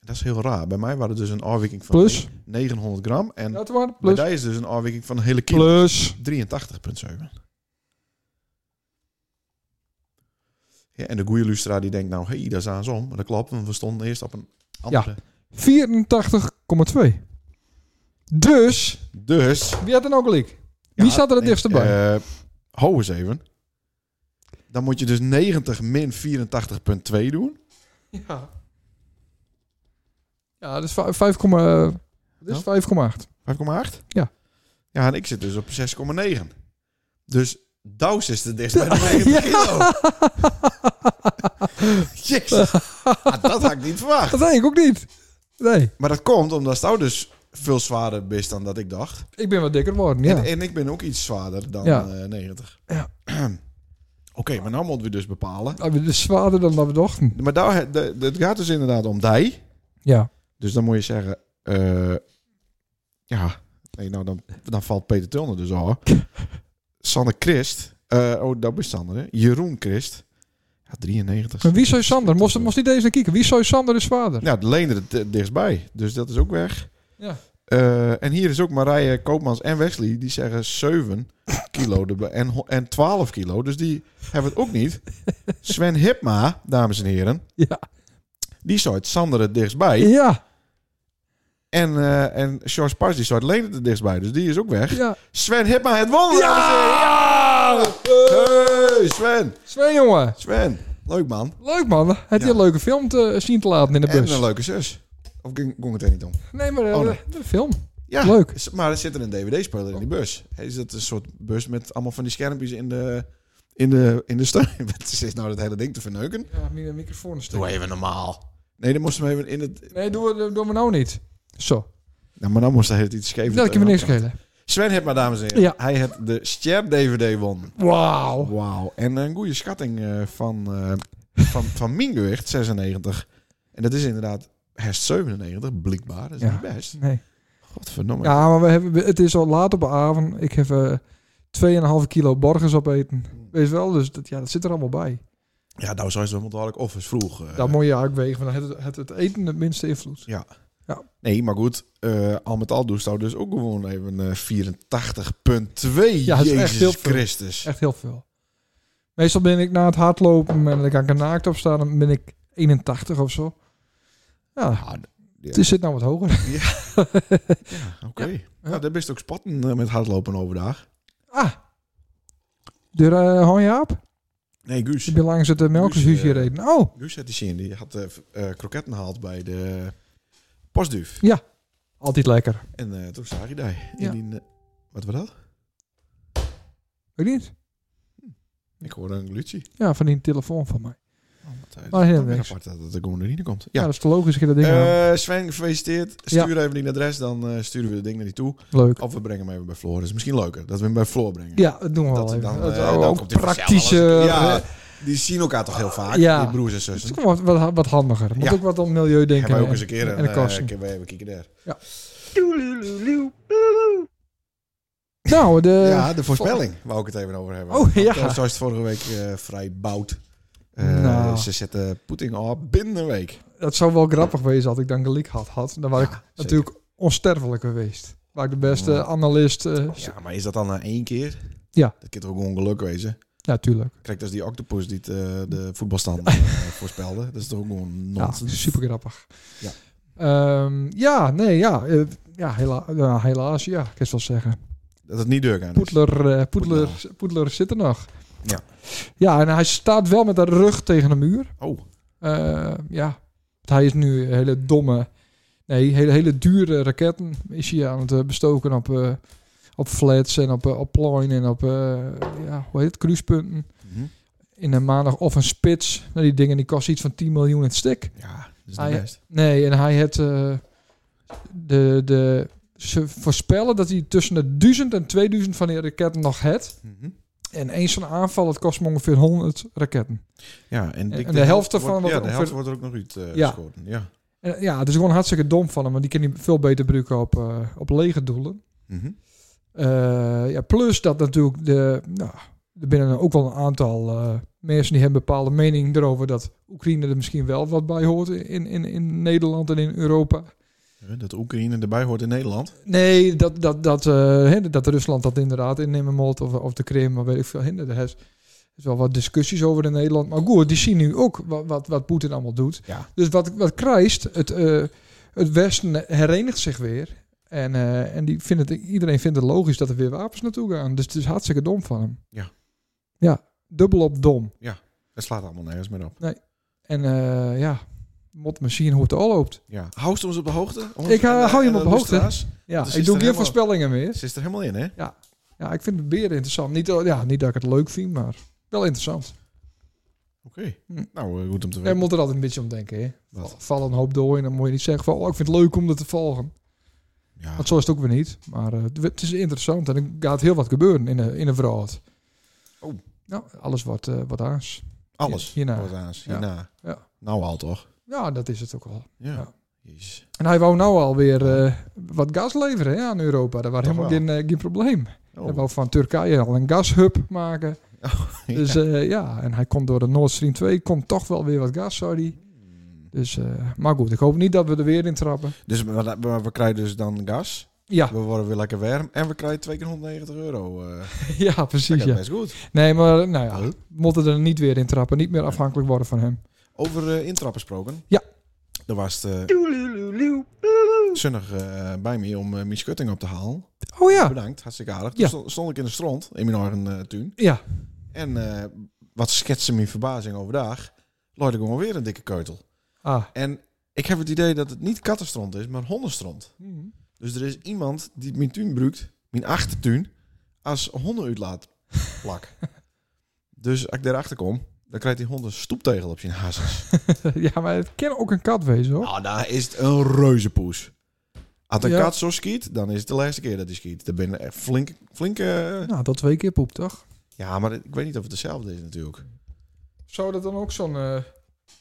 S1: Dat is heel raar. Bij mij waren het dus een afwijking van
S3: Plus.
S1: 900 gram. En
S3: Ja, het waren
S1: bij
S3: plus.
S1: jou is dus een afwijking van een hele kilo.
S3: Plus.
S1: 83,7. Ja, en de goede Lustra die denkt nou, hé, hey, daar zijn ze om. Maar dat klopt, want we stonden eerst op een andere.
S3: 84,2. Dus,
S1: Dus...
S3: wie had er nou gelijk? Wie staat er het dichtst bij?
S1: bij? hou eens even. Dan moet je dus 90 min 84,2 doen.
S3: Ja. Ja, dat is vijf- 5, komma, eh, dat is 5,8.
S1: 5,8?
S3: Ja.
S1: Ja, en ik zit dus op 6,9. Dus Douws is de dichtst bij de 90 kilo. Jezus. Ah, dat had ik niet verwacht.
S3: Dat denk ik ook niet. Nee,
S1: Maar dat komt omdat Stouw dus veel zwaarder is dan dat ik dacht.
S3: ik ben wat dikker geworden, ja.
S1: En, en ik ben ook iets zwaarder dan
S3: Ja.
S1: eh, 90.
S3: Ja.
S1: Oké, maar nou moeten we dus bepalen.
S3: Ah, we- Dus zwaarder dan dat we dachten.
S1: Maar daar, he- de- de- het gaat dus inderdaad om dij.
S3: Ja.
S1: Dus dan moet je zeggen, eh, ja, nee, nou dan, dan valt Peter Tulner dus al. Sanne Christ, eh, oh, dat is Sander, hè? Jeroen Christ, ja, 93.
S3: Maar wie zou Sander? Moest, moest niet deze kijken. Wie zou Sander is zwaarder?
S1: Nou, de leende het eh, dichtstbij, dus dat is ook weg.
S3: Ja.
S1: Eh, en hier is ook Marije Koopmans en Wesley, die zeggen 7 kilo erbij en, ho- en 12 kilo, dus die hebben het ook niet. Sven Hipma, dames en heren,
S3: Ja.
S1: die zou het Sander het dichtstbij.
S3: Ja.
S1: En, eh en George Pars, die staat Leen er dichtstbij, dus die is ook weg.
S3: ja.
S1: Sven Hipma, het wonder!
S3: Eh.
S1: Hey, Sven!
S3: Sven, jongen.
S1: Sven, leuk man.
S3: Leuk, man. Heb je
S1: Ja.
S3: een leuke film te, zien te laten in de
S1: En
S3: bus?
S1: een leuke zus. Of ging, ging het er niet om?
S3: Nee, maar eh,
S1: Oh, nee.
S3: de film.
S1: Ja,
S3: Leuk. Oh.
S1: s- maar er zit er een dvd-speler in die bus. Is dat een soort bus met allemaal van die schermpjes in de, in de, in de steun? Wat is nou dat hele ding te verneuken?
S3: Ja, mijn microfoon is
S1: Doe even normaal. Nee, dan moesten we even in het...
S3: Nee, doe, doe, doe me nou niet. Zo.
S1: Nou, maar dan moest hij het iets geven.
S3: Dat kan me niks schelen.
S1: Sven Hipma, dames en heren.
S3: Ja. Oh.
S1: Hij heeft de Ster-dvd won.
S3: Wauw.
S1: Wauw. En een goede schatting eh, van, eh, van, van mijn gewicht, 96. En dat is inderdaad herst 97, blijkbaar. Dat is
S3: Ja.
S1: niet best.
S3: Nee.
S1: Godverdomme.
S3: Ja, maar we hebben, we- het is al laat op de avond. Ik heb eh 2,5 kilo borgers opeten. Weet je wel, dus dat, ja, dat zit er allemaal bij.
S1: Ja, nou zou ze wel dadelijk of is vroeg. eh.
S3: dat moet je eigenlijk wegen, want dan heeft het, heeft het eten het minste invloed.
S1: Nee, maar goed. eh, al met al doet zou dus ook gewoon even eh, 84,2.
S3: Ja, dat is echt
S1: Jezus
S3: heel veel.
S1: Christus.
S3: Echt heel veel. Meestal ben ik na het hardlopen en dan kan ik er naakt op staan, dan ben ik 81 of zo. Ja,
S1: Ja, Ah, d-
S3: het is- zit nou wat hoger.
S1: Oké. Nou, daar best ook spatten eh, met hardlopen overdag.
S3: Ah, de eh Honjaap,
S1: Nee, Guus.
S3: die ben langs het uh, melkhuis
S1: Dus, eh,
S3: gereden. Oh,
S1: Guus had die zin. Die had eh, v- eh, kroketten gehaald bij de postduif.
S3: altijd lekker.
S1: En eh, toen zag je daar. In
S3: Ja.
S1: die, eh, wat was dat?
S3: Weet je niet?
S1: Ik hoor een glutje.
S3: Ja, van die telefoon van mij.
S1: maar
S3: helemaal
S1: heel
S3: niks.
S1: apart dat het er gewoon niet komt.
S3: Ja,
S1: Ja.
S3: dat is te logisch. dat je dat ding aan.
S1: Eh Sven, gefeliciteerd. Stuur even die adres, dan eh, sturen we de ding naar die toe.
S3: Leuk.
S1: Of we brengen hem even bij Floor. Dat is misschien leuker, dat we hem bij Floor brengen.
S3: Ja, dat doen we
S1: Dat
S3: wel
S1: hij
S3: even.
S1: dan,
S3: Oh, dat
S1: eh,
S3: is ook
S1: dan komt hij
S3: praktische...
S1: Ja,
S3: eh,
S1: die zien elkaar toch heel vaak,
S3: Ja.
S1: die broers en
S3: het is
S1: zussen.
S3: toch wat, wat, wat handiger. Moet
S1: Ja.
S3: ook wat aan milieu denken.
S1: Hebben we ook
S3: en-
S1: eens een keer
S3: en de
S1: een eh,
S3: kosten.
S1: keer even kijken daar.
S3: Nou, de...
S1: ja, de voorspelling, wou ik het even over hebben.
S3: Oh, ja.
S1: Want, eh, Zoals het vorige week eh, vrij bout. Eh,
S3: Nou.
S1: Ze zetten Poetin op binnen een week.
S3: Dat zou wel grappig wezen als ik dan gelijk had had. Dan was ik
S1: Ja,
S3: natuurlijk onsterfelijk geweest. Waar ik de beste
S1: Ja.
S3: analist... eh, s-
S1: Ja, maar is dat dan na één keer?
S3: Ja.
S1: Dat kan toch ook ongeluk wezen?
S3: ja, tuurlijk.
S1: Kijk, dat is die octopus die het, eh, de voetbalstand eh, voorspelde. Dat is toch ook gewoon
S3: Ja,
S1: nonsens.
S3: super grappig.
S1: Ja.
S3: Ehm, ja, nee, ja. eh, ja, hela- ja, helaas, ja. Ik kan het wel zeggen.
S1: Dat het niet deur kan.
S3: Poedler, eh, Poedler,
S1: Poedelaar.
S3: Poedler zit er nog.
S1: dus- Ja.
S3: Ja, en hij staat wel met de rug tegen de muur.
S1: Oh,
S3: Eh, ja, Want hij is nu hele domme, nee, hele, hele dure raketten is hij aan het eh, bestoken op, eh, op flats en op, eh, op plooien en op, eh, ja, hoe heet het, kruispunten.
S1: Mhm.
S3: In een maandag of een spits. Nou, die dingen die kosten iets van 10 miljoen het stuk.
S1: ja, dat is
S3: Ah,
S1: niet
S3: ja.
S1: best.
S3: Nee, en hij het eh, de, de, ze voorspellen dat hij tussen de 1000 en 2000 van die raketten nog had.
S1: Mhm.
S3: En eens zo'n aanval, het kost me ongeveer 100 raketten.
S1: Ja, en,
S3: en de helft ervan
S1: wordt, ja,
S3: wordt
S1: de helft wordt er ook nog uit eh
S3: Ja.
S1: gescoord. Ja.
S3: En, ja, het is gewoon hartstikke dom van hem, want die kan hij veel beter gebruiken op, eh, op lege doelen.
S1: Mhm.
S3: Eh, ja, plus dat natuurlijk de, nou, er binnen ook wel een aantal eh, mensen die hebben een bepaalde mening erover dat Oekraïne er misschien wel wat bij hoort in, in, in Nederland en in Europa.
S1: Ja, Dat Oekraïne erbij hoort in Nederland.
S3: Nee, dat, dat, dat, eh, hè, dat Rusland dat inderdaad innemen moet of, of de Krim, maar weet ik veel. hè, Er is, er is wel wat discussies over in Nederland. Maar goed, die zien nu ook wat, wat, wat Poetin allemaal doet.
S1: Ja.
S3: Dus wat, wat krijgt, het, eh, het Westen herenigt zich weer. En, eh, en die vindt het, iedereen vindt het logisch dat er weer wapens naartoe gaan. Dus het is hartstikke dom van hem.
S1: Ja.
S3: Ja, dubbel op dom.
S1: Het slaat allemaal nergens meer op.
S3: En eh, ja, mot maar zien hoe het al loopt.
S1: Ja. Hou ze ons op de hoogte?
S3: Ik
S1: eh,
S3: hou- hou je hem op de hoogte. Ja,
S1: Dus is er
S3: ik doe geen
S1: helemaal-
S3: voorspellingen meer.
S1: Ze is er helemaal in, hè?
S3: Ja, ik vind het beren interessant. Niet, eh, ja, niet dat ik het leuk vind, maar wel interessant.
S1: Oké.
S3: Hm.
S1: Nou, eh, goed om te
S3: En
S1: weten.
S3: moet er altijd een beetje om denken. Hè?
S1: Wat?
S3: Vallen een hoop door en dan moet je niet zeggen van... Oh, ik vind het leuk om dat te volgen.
S1: Ja.
S3: Want zo is het ook weer niet. Maar eh, het is interessant en er gaat heel wat gebeuren in een, in een verhaal.
S1: Oh.
S3: Nou, alles wordt, eh wat aans.
S1: Alles
S3: Hierna.
S1: wordt aan. Hierna.
S3: Ja.
S1: Nou al toch?
S3: Ja, dat is het ook wel.
S1: Ja.
S3: Ja.
S1: Jezus.
S3: En hij wou nou alweer eh wat gas leveren hè, aan Europa. Daar was
S1: Toch
S3: helemaal
S1: wel.
S3: geen, eh, geen probleem.
S1: Oh.
S3: Hij wou van Turkije al een gashub maken.
S1: Ja.
S3: Dus eh, ja, en hij komt door de Nord Stream 2, komt toch wel weer wat gas, zou die.
S1: Hmm.
S3: Dus, eh, maar goed, ik hoop niet dat we er weer in trappen.
S1: Dus we, we- we krijgen dus dan gas.
S3: Ja,
S1: We worden weer lekker warm. En we krijgen twee keer 190 euro. eh. dat
S3: ja precies.
S1: gaat
S3: Ja.
S1: best goed.
S3: Nee, maar nou ja,
S1: Huh?
S3: we moeten er niet weer in trappen. Niet meer afhankelijk worden van hem.
S1: Over eh, intrappen gesproken.
S3: Ja.
S1: Er was het eh, zonnig eh, bij me om eh mijn schutting op te halen.
S3: Oh ja,
S1: Bedankt, hartstikke aardig.
S3: Ja.
S1: Toen stond- stond ik in de strand, in mijn eigen eh, tuin.
S3: ja.
S1: En eh, wat schetste mijn verbazing overdag, Lloyd ik gewoon weer een dikke keutel.
S3: Ah.
S1: En ik heb het idee dat het niet kattenstrand is, maar hondenstrand. Dus er is iemand die mijn tuin gebruikt, mijn achtertuin, als hondenuitlaatplak. dus als ik daarachter kom, dan krijgt die hond een stoeptegel op zijn hazes.
S3: ja, maar het kan ook een kat wezen hoor.
S1: Nou, daar is het een reuzenpoes. Als een
S3: Ja.
S1: kat zo schiet, dan is het de laatste keer dat hij schiet. Dan ben je echt flink, flink... eh,
S3: Nou, dat twee keer poep toch?
S1: Ja, maar ik weet niet of het hetzelfde is natuurlijk.
S3: Zou dat dan ook zo'n. eh,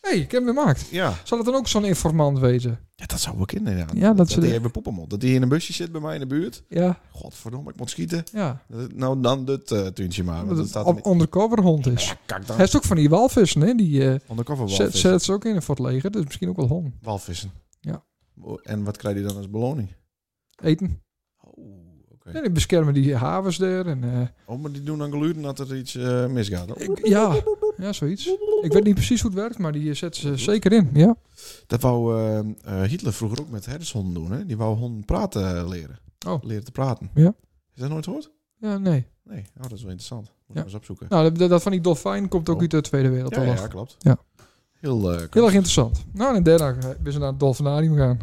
S3: hey, ik heb hem gemaakt.
S1: Ja.
S3: Zou dat dan ook zo'n informant wezen?
S1: Ja, dat zou ik inderdaad.
S3: Ja, dat
S1: dat
S3: ze
S1: die
S3: de-
S1: even poepen moet. Dat die in een busje zit bij mij in de buurt.
S3: Ja,
S1: Godverdomme, ik moet schieten.
S3: ja.
S1: Dat het- Nou, dan dit eh tuintje maar. Want
S3: Omdat
S1: dat
S3: het
S1: staat
S3: een
S1: er
S3: undercover hond
S1: niet.
S3: is.
S1: Ja, kak
S3: Hij
S1: dan.
S3: is ook van die walvissen, hè? Die eh,
S1: Undercover
S3: zet,
S1: walvissen.
S3: zet ze ook in voor het leger. Dus misschien ook wel hond.
S1: Walvissen. Oh,
S3: Ja.
S1: En wat krijg je dan als beloning?
S3: Eten.
S1: Oh, oké.
S3: En die beschermen die havens daar. En, eh,
S1: Oh, maar die doen dan geluiden dat er iets eh, misgaat. Oh,
S3: ik- ja. ja, zoiets. Ik weet niet precies hoe het werkt, maar die eh, zetten ze zeker in. Ja.
S1: Dat wou eh, eh, Hitler vroeger ook met herdershonden doen. Hè? Die wou honden praten eh, leren.
S3: Oh.
S1: Leren te praten.
S3: Ja.
S1: Is dat nooit gehoord?
S3: ja, nee.
S1: Nee. Oh, dat is wel interessant. Moet ik
S3: Ja.
S1: eens opzoeken.
S3: Nou, dat, dat van die dolfijn komt ook
S1: Oh.
S3: uit de Tweede Wereldoorlog.
S1: ja, ja, klopt.
S3: Ja.
S1: Heel, eh
S3: Heel erg interessant. Nou, en in derde ben ze naar het dolfinarium gaan.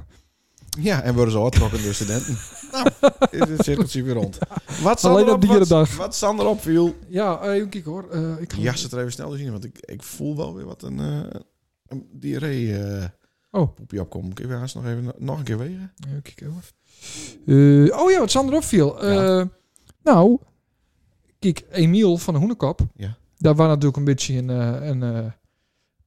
S1: Ja, en worden ze hardtrokken door studenten. nou, is het cirkeltje weer rond. Wat
S3: Alleen
S1: Sander
S3: op die
S1: wat-
S3: dag.
S1: Wat Sander opviel.
S3: Ja, eh, even kijken hoor. Eh, ik ga-
S1: Ja, ze er even snel zien, want ik, ik voel wel weer wat een, eh een diarree eh
S3: Oh.
S1: poepje opkomt. Kun je haast nog even nog een keer wegen?
S3: Even kijken hoor. Eh, oh ja, wat Sander opviel. Eh, Nou, kijk, Emiel van de Hoenekop.
S1: Ja.
S3: Daar was natuurlijk een beetje een... eh, een eh,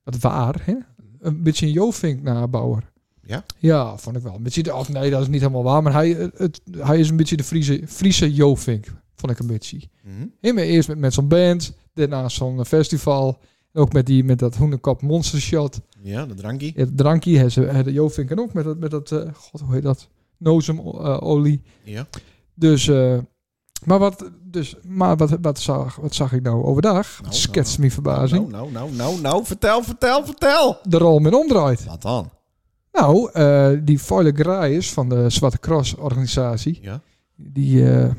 S3: wat waar, hè? Een beetje een Jovink nabouwer.
S1: Ja?
S3: Ja, vond ik wel. Een beetje de, of nee, dat is niet helemaal waar. Maar hij, eh, het, hij is een beetje de Friese, Friese Jovink. Vond ik een beetje.
S1: Mhm.
S3: Hè, maar Eerst met, met zo'n band. Daarna zo'n eh, festival. Ook met, die, met dat Hoenekop Monster Shot.
S1: Ja, de drankie.
S3: Het drankje hebben ze hebben Jo Vink en ook met dat, met dat eh, god, hoe heet dat? Nozemolie.
S1: Ja.
S3: Dus, eh, maar wat, dus, maar wat, wat, zag, wat zag ik nou overdag?
S1: Nou,
S3: Wat schetst me verbazing.
S1: Nou, nou, nou, nou, nou, vertel, vertel, vertel.
S3: De rol men omdraait.
S1: Wat dan?
S3: Nou, eh, die Foile Graaiers van de Zwarte Cross organisatie,
S1: Ja.
S3: die, eh,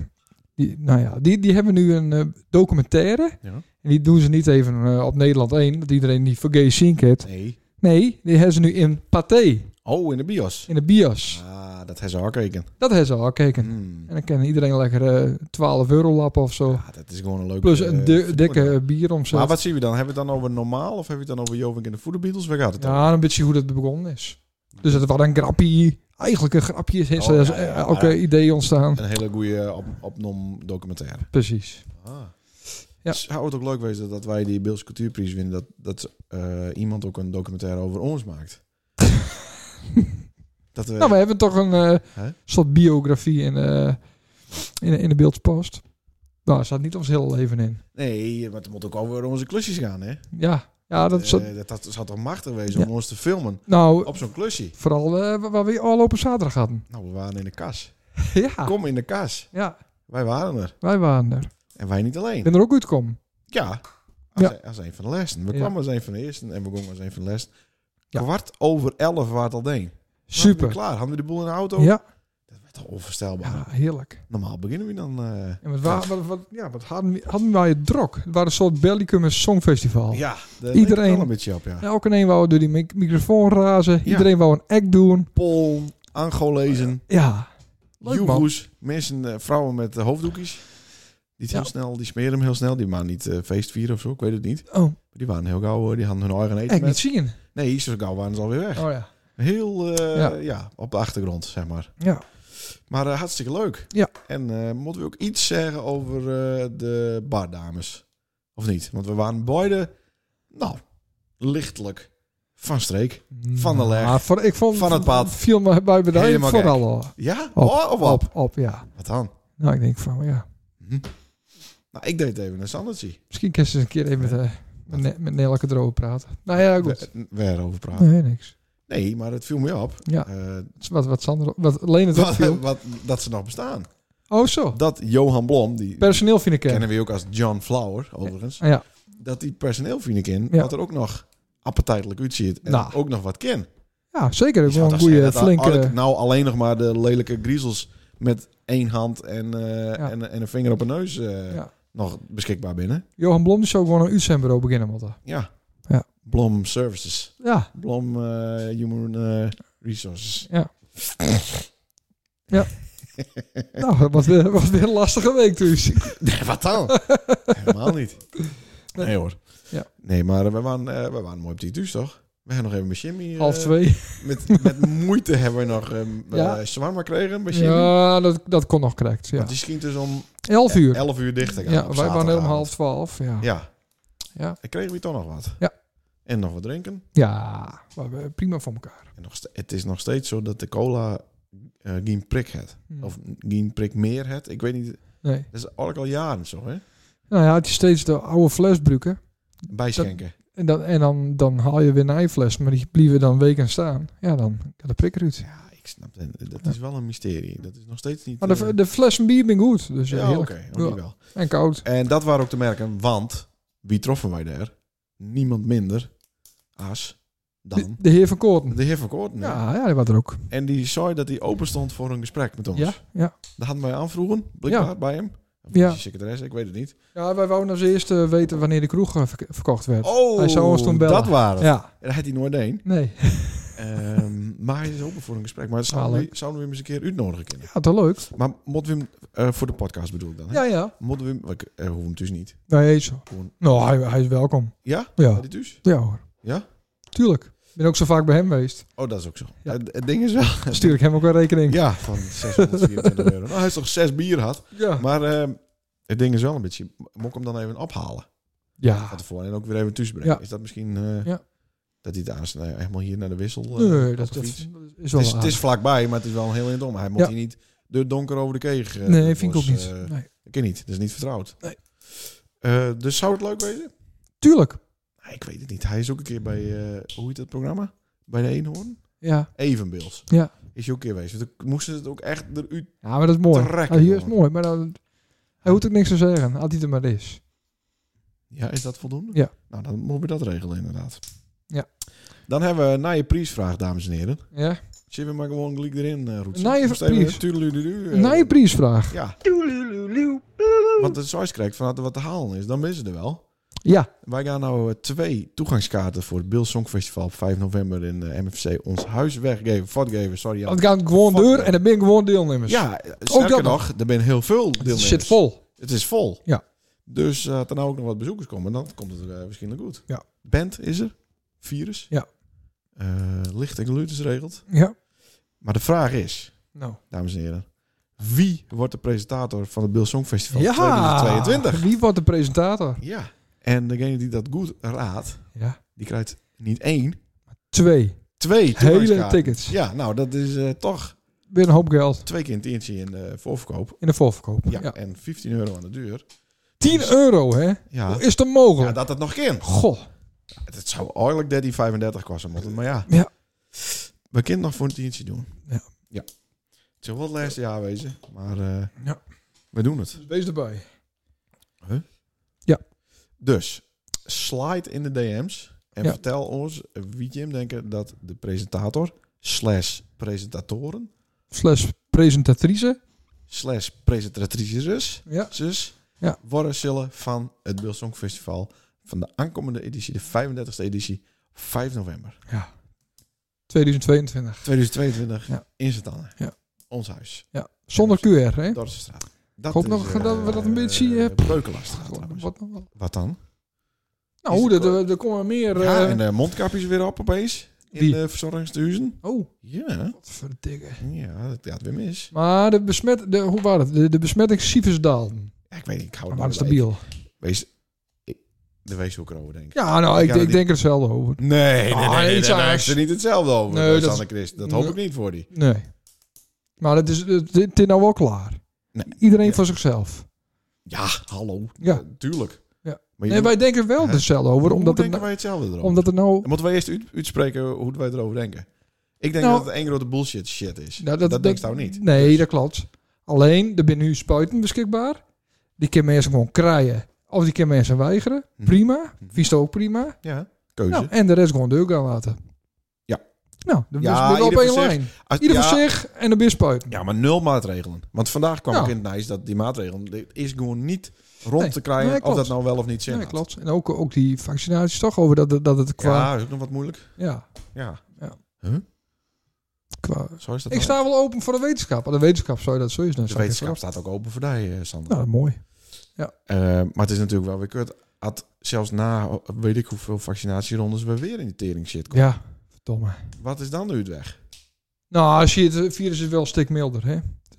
S3: die, nou ja, die, die hebben nu een eh, documentaire.
S1: Ja.
S3: En die doen ze niet even eh, op Nederland 1, dat iedereen die voor gay zien kent.
S1: Nee.
S3: Nee, die hebben ze nu in Pathé,
S1: Oh, in de bios.
S3: in de bios.
S1: Ah, dat hebben ze al gekeken.
S3: Dat hebben ze al gekeken.
S1: Hmm.
S3: En dan kan iedereen lekker eh, 12 euro lappen of zo.
S1: Ja, dat is gewoon een leuke...
S3: Oh. Plus een
S1: eh,
S3: di-
S1: vertoning.
S3: dikke eh,
S1: Maar
S3: bieromzet.
S1: wat zien we dan? Hebben we het dan over normaal of hebben we het dan over Jovink en de Voeder Beatles? Waar gaat het dan?
S3: Ja, een beetje hoe dat begonnen is. Dus dat was een grappie. Eigenlijk een grapje is is
S1: Oh,
S3: er
S1: ja, ja, ja.
S3: elke idee ontstaan.
S1: Een hele goede op, opnom eh, documentaire.
S3: Precies.
S1: Ah.
S3: Ja.
S1: Dus zou het ook leuk wezen dat wij die Beels Cultuurprijs winnen, dat, dat eh, iemand ook een documentaire over ons maakt? dat we,
S3: Nou, we hebben toch een eh,
S1: Eh, Hè?
S3: soort biografie in, eh, in, in de beeldspost. Nou, er staat niet ons hele leven in.
S1: Nee, maar het moet ook over onze klusjes gaan, hè?
S3: Ja, ja dat
S1: Eh,
S3: is...
S1: dat, dat zou toch machtig wezen
S3: Ja.
S1: om ons te filmen
S3: Nou,
S1: op zo'n klusje?
S3: vooral eh, wa- waar we al op zaterdag hadden.
S1: Nou, we waren in de kas.
S3: ja.
S1: Kom in de kas.
S3: ja,
S1: Wij waren er.
S3: wij waren er.
S1: En wij niet alleen.
S3: Ik ben er ook uitgekomen.
S1: Ja, als,
S3: Ja.
S1: Een, als een van de lessen. We
S3: Ja.
S1: kwamen als een van de eerste en we gingen als een van de lessen.
S3: Ja.
S1: Kwart over elf waar het al deed. Waren we
S3: Super.
S1: klaar. Hadden we de boel in de auto?
S3: Ja.
S1: Dat werd toch onvoorstelbaar.
S3: ja, heerlijk.
S1: Normaal beginnen we dan... eh,
S3: En wat, wa- wat, wat- ja, wat hadden, we, hadden wij het drok. Het was een soort Bellicum Songfestival.
S1: ja, daar
S3: Iedereen-
S1: leek het wel een beetje op, ja.
S3: Elke een wou door die mic- microfoon razen.
S1: Ja.
S3: Iedereen wou een act doen.
S1: Pol, Angolezen,
S3: Ja. Leuk, man.
S1: Joegoes, mensen, eh, vrouwen met eh, hoofddoekjes. Die, het
S3: Ja.
S1: heel snel, die smeren hem heel snel. Die waren niet eh, feestvieren of zo, ik weet het niet.
S3: Oh,
S1: Die waren heel gauw, eh, die hadden hun eigen eten
S3: ik niet
S1: met.
S3: zien.
S1: Nee, zo gauw waren ze alweer weg.
S3: Oh ja.
S1: Heel, eh,
S3: Ja.
S1: ja. op de achtergrond, zeg maar.
S3: Ja.
S1: Maar eh, hartstikke leuk.
S3: Ja.
S1: En eh, moeten we ook iets zeggen over eh, de bardames? Of niet? Want we waren beide, nou, lichtelijk van streek. Van de leg.
S3: Ja, van, Mm, ik vond,
S1: Van het pad.
S3: Viel me bij bedrijf.
S1: Helemaal
S3: Van
S1: gek.
S3: al op,
S1: Ja?
S3: Op,
S1: oh, of op.
S3: op, op, ja.
S1: Wat dan?
S3: Nou, ik denk van, ja.
S1: Hm. Nou, ik deed even een standaardje.
S3: Misschien kun je eens een keer even met, eh, met, Ne- met Nelke erover praten. Nou ja, goed.
S1: We, we erover praten.
S3: Nee, niks.
S1: Nee, maar het viel me op.
S3: Ja.
S1: eh,
S3: Het is Wat, wat, Sander, wat Leen het
S1: wat,
S3: opviel.
S1: wat, dat ze nog bestaan.
S3: Oh zo.
S1: Dat Johan Blom, die
S3: Personeel vind ik
S1: kennen
S3: hem.
S1: we ook als John Flower, overigens.
S3: Ah, Ja,
S1: dat die personeel vind ik in,
S3: Ja.
S1: dat er ook nog appetijtelijk uitziet en
S3: Nou.
S1: ook nog wat ken.
S3: ja zeker.
S1: Je zou
S3: Gewoon een
S1: toch
S3: goede,
S1: zeggen dat
S3: flinke...
S1: eigenlijk nou alleen nog maar de lelijke griezels met één hand en, eh, en, en een vinger op een neus eh,
S3: Ja.
S1: nog beschikbaar binnen.
S3: Johan Blom die zou gewoon een UCM-bureau beginnen moeten.
S1: Ja.
S3: Ja.
S1: Blom Services.
S3: Ja,
S1: Blom eh, Human eh, Resources.
S3: nou, dat was weer, was weer een lastige week dus.
S1: Nee, wat dan? Helemaal niet.
S3: Nee.
S1: Nee hoor.
S3: Ja.
S1: Nee, maar eh, we waren, eh, we waren mooi op die thuis, toch? We gaan nog even met Jimmy... eh,
S3: Half twee.
S1: Met, met moeite hebben we nog ehm
S3: Ja.
S1: eh, shawarma gekregen bij Jimmy.
S3: Ja, dat, dat kon nog correct. Ja.
S1: Want die schijnt dus om
S3: Elf uur.
S1: 11 uur dicht te gaan.
S3: Ja,
S1: op
S3: wij waren om
S1: zaterdagavond.
S3: half twaalf. Ja. Ja.
S1: Ja.
S3: Ja.
S1: Dan kregen we toch nog wat.
S3: Ja.
S1: En nog wat drinken.
S3: we hebben prima voor elkaar.
S1: En nog, ste- het is nog steeds zo dat de cola eh geen prik had.
S3: Hm.
S1: Of geen prik meer had. Ik weet niet.
S3: Nee.
S1: Dat is eigenlijk al jaren zo, hè?
S3: Nou ja, het is steeds de oude fles gebruiken.
S1: Bijschenken.
S3: En, dan, en dan, dan haal je weer een eifles, maar die blieven dan weken staan. Ja, dan kan de prikker uit.
S1: Ja, ik snap het. Dat
S3: Ja.
S1: is wel een mysterie. Dat is nog steeds niet...
S3: Maar
S1: eh,
S3: de, de flessen bier ben goed. Dus ja,
S1: ja, oké.
S3: heerlijk.
S1: oh, die
S3: Ja.
S1: wel.
S3: En koud.
S1: En dat waren ook te merken, want wie troffen wij daar? Niemand minder as
S3: De,
S1: dan
S3: de heer van Koorten.
S1: de heer van Koorten. hè?
S3: Ja, ja, die was er ook.
S1: En die zei dat hij open stond voor een gesprek met ons.
S3: Ja, ja.
S1: Dat hadden wij aanvroegen, blijkbaar,
S3: Ja.
S1: bij hem. Of
S3: Ja.
S1: ja. secretaresse, ik weet het niet.
S3: ja, wij wouden als eerste weten wanneer de kroeg eh, verk- verkocht werd.
S1: Oh,
S3: Hij zou ons toen bellen.
S1: dat waren het.
S3: Ja,
S1: En Dat had hij nooit één.
S3: nee.
S1: Ehm, maar hij is open voor een gesprek. Maar zouden we,
S3: Zalig.
S1: zouden we hem eens een keer uitnodigen kunnen?
S3: Ja, toch leuk?
S1: Maar moeten we hem, eh, voor de podcast bedoel ik dan, hè?
S3: Ja, ja.
S1: Moeten we hem, we eh, hoeven hem dus niet.
S3: Nee, zo.
S1: Gewoon-
S3: Nou, hij, hij is welkom.
S1: Ja?
S3: Ja.
S1: Had hij dus?
S3: Ja hoor.
S1: Ja?
S3: Tuurlijk. Ik ben ook zo vaak bij hem geweest.
S1: Oh, dat is ook zo.
S3: Ja.
S1: Het, het ding is wel...
S3: Dan stuur ik hem ook een rekening.
S1: Ja, van 624 euro. Nou, hij is toch zes bier had.
S3: Ja.
S1: Maar ehm, het ding is wel een beetje... Moet ik hem dan even ophalen?
S3: Ja.
S1: van tevoren en ook weer even tussen brengen.
S3: Ja.
S1: Is dat misschien eh,
S3: Ja.
S1: dat hij het aan nou, helemaal hier naar de wissel? eh,
S3: Nee,
S1: op
S3: dat,
S1: de
S3: dat
S1: fiets?
S3: is wel
S1: het, is, het
S3: aardig.
S1: is vlakbij, maar het is wel een heel in het om. Hij moet
S3: Ja.
S1: hier niet de donker over de keeg. eh,
S3: Nee,
S1: dat
S3: vind ik ook
S1: was,
S3: niet.
S1: eh,
S3: Nee.
S1: ik ken niet, dat is niet vertrouwd.
S3: Nee.
S1: Eh, dus zou het leuk wezen?
S3: Tuurlijk.
S1: Ah, Ik weet het niet. Hij is ook een keer bij, eh, hoe heet dat programma? Bij de Eenhoorn?
S3: Ja.
S1: Evenbeels.
S3: Ja.
S1: Is hij ook een keer geweest. Want toen moesten ze het ook echt eruit...
S3: Ja, maar dat is mooi.
S1: Trekken,
S3: Ja, hier is
S1: jongen.
S3: mooi, maar dan, hij hoeft ook niks te zeggen. Als hij er maar is.
S1: Ja, is dat voldoende?
S3: Ja.
S1: Nou, dan moeten we dat regelen inderdaad.
S3: Ja.
S1: Dan hebben we na je prijsvraag, dames en heren.
S3: Ja.
S1: Zullen we maar gewoon gelijk erin uh, roetsen?
S3: Naaie
S1: Of stelen we
S3: prijs.
S1: het tudeludelu, eh,
S3: Na je prijsvraag.
S1: Ja, want het zoals krijgt van dat er wat te halen is, dan ben ze er wel.
S3: Ja.
S1: Wij gaan nou eh, twee toegangskaarten voor het Bill Songfestival op 5 november in eh, MFC ons huis weggeven, voortgeven, sorry Jan.
S3: Want het gaat gewoon
S1: Fuck
S3: deur
S1: nee.
S3: en dan ben ik gewoon deelnemers.
S1: Ja, eh, sterker
S3: dat
S1: nog, er zijn heel veel
S3: Het
S1: deelnemers.
S3: zit vol.
S1: Het is vol.
S3: Ja.
S1: Dus eh, als er nou ook nog wat bezoekers komen, dan komt het er eh, waarschijnlijk goed.
S3: Ja.
S1: Band is er, virus.
S3: Ja.
S1: Eh, licht en geluid is geregeld.
S3: Ja.
S1: Maar de vraag is,
S3: Nou.
S1: dames en heren, Wie wordt de presentator van het Bill Song Festival 2022?
S3: Wie wordt de presentator?
S1: Ja. En degene die dat goed raadt,
S3: Ja.
S1: die krijgt niet één,
S3: Twee.
S1: twee
S3: Hele
S1: toegangskaarten.
S3: tickets.
S1: Ja, nou dat is eh, toch
S3: Weer een hoop geld
S1: twee keer een tientje in de voorverkoop.
S3: in de voorverkoop.
S1: Ja,
S3: Ja.
S1: en 15 euro aan de duur.
S3: 10 euro, hè?
S1: Ja,
S3: Hoe is dat
S1: ja
S3: mogelijk?
S1: dat het nog kan.
S3: Goh.
S1: Het zou eigenlijk 13,35 kosten moeten, maar ja.
S3: Ja.
S1: We kunnen nog voor een tientje doen.
S3: Ja.
S1: ja. Het zal wel het laatste jaar wezen, maar eh,
S3: Ja.
S1: we doen het.
S3: Wees erbij.
S1: Dus, slide in de DM's en
S3: Ja.
S1: vertel ons wie Jim denken dat de presentator slash presentatoren
S3: Slash presentatrice.
S1: slash presentatrices
S3: Ja.
S1: zus,
S3: Ja.
S1: worden zullen van het Beelsong Festival van de aankomende editie, de 35e editie, 5 november
S3: 2022.
S1: 2022
S3: Ja.
S1: in Zetanne.
S3: Ja.
S1: Ons huis,
S3: Zonder QR, hè?
S1: Dorpsstraat.
S3: Ik hoop nog dat we dat een beetje, eh,
S1: Beukelaststraat trouwens.
S3: Wat nog wel?
S1: Wat dan? Is
S3: Nou,
S1: het
S3: er- er er komen meer...
S1: ja,
S3: eh,
S1: en de mondkapjes weer op opeens in
S3: Wie?
S1: de verzorgingshuizen.
S3: Oh,
S1: Ja.
S3: wat verdikke.
S1: Ja, dat gaat weer mis.
S3: Maar de besmet... De, hoe was het? De, de besmetting cijfers daalden.
S1: Ja, ik Oh, weet niet, ik hou
S3: Maar
S1: het
S3: waren
S1: niet
S3: stabiel.
S1: bij. Wees, ik, de weeshoeker over, denk ik.
S3: Ja, nou,
S1: Ik
S3: ik,
S1: ga er
S3: ik
S1: niet-
S3: denk er hetzelfde over.
S1: Nee, nee, nee,
S3: Ah,
S1: nee, nee,
S3: iets
S1: daar
S3: anders.
S1: heeft ze niet hetzelfde over.
S3: Nee,
S1: Nee,
S3: dat-
S1: dat, Christ. dat hoop
S3: Nee.
S1: ik niet voor die.
S3: Nee. Maar het is, het, het is nou wel klaar.
S1: Nee.
S3: Iedereen
S1: Ja.
S3: voor zichzelf.
S1: Ja, hallo.
S3: Ja.
S1: Eh, Tuurlijk.
S3: Ja.
S1: Maar
S3: nee, wij denken wel
S1: Hè?
S3: hetzelfde over.
S1: omdat
S3: Omdat
S1: denken
S3: het, nou-
S1: wij hetzelfde erover?
S3: omdat het nou...
S1: Dan moeten wij eerst uit, uitspreken hoe wij erover denken. Ik denk
S3: Nou-
S1: dat het één grote bullshit shit is.
S3: Nou,
S1: dat denkt nou niet.
S3: Nee, dat klopt. Alleen, er zijn nu spuiten beschikbaar. Die kunnen mensen gewoon krijgen. Of die kunnen mensen weigeren.
S1: Hm.
S3: Prima.
S1: Hm.
S3: Vies ook prima.
S1: Ja, keuze.
S3: Nou, en de rest gewoon deur gaan laten.
S1: Ja.
S3: Nou, dan
S1: Ja,
S3: is het op
S1: ieder
S3: één
S1: voor
S3: lijn.
S1: Als-
S3: Ieder
S1: ja,
S3: voor zich en de bis buiten.
S1: ja, maar nul maatregelen. Want vandaag kwam
S3: Nou.
S1: ik in het nieuws dat die maatregelen... dit is gewoon niet rond
S3: Nee,
S1: te krijgen
S3: nee,
S1: of
S3: klopt.
S1: dat nou wel of niet zin
S3: Nee,
S1: had.
S3: klopt. En ook, ook die vaccinaties toch over dat, het- dat het qua...
S1: Ja, is ook nog wat moeilijk.
S3: Ja.
S1: Ja.
S3: qua
S1: Zo is dat
S3: ik
S1: nou.
S3: sta wel open voor de wetenschap. Maar de wetenschap zou je dat sowieso
S1: De wetenschap staat ook open voor die, eh, Sander.
S3: Nou, mooi.
S1: Eh, maar het is natuurlijk wel weer kut. Had zelfs na eh, weet ik hoeveel vaccinatierondes we weer in die tering shit komen.
S3: Ja, verdomme.
S1: Wat is dan nu het weg?
S3: Nou, als je het virus is wel een stuk milder, hè.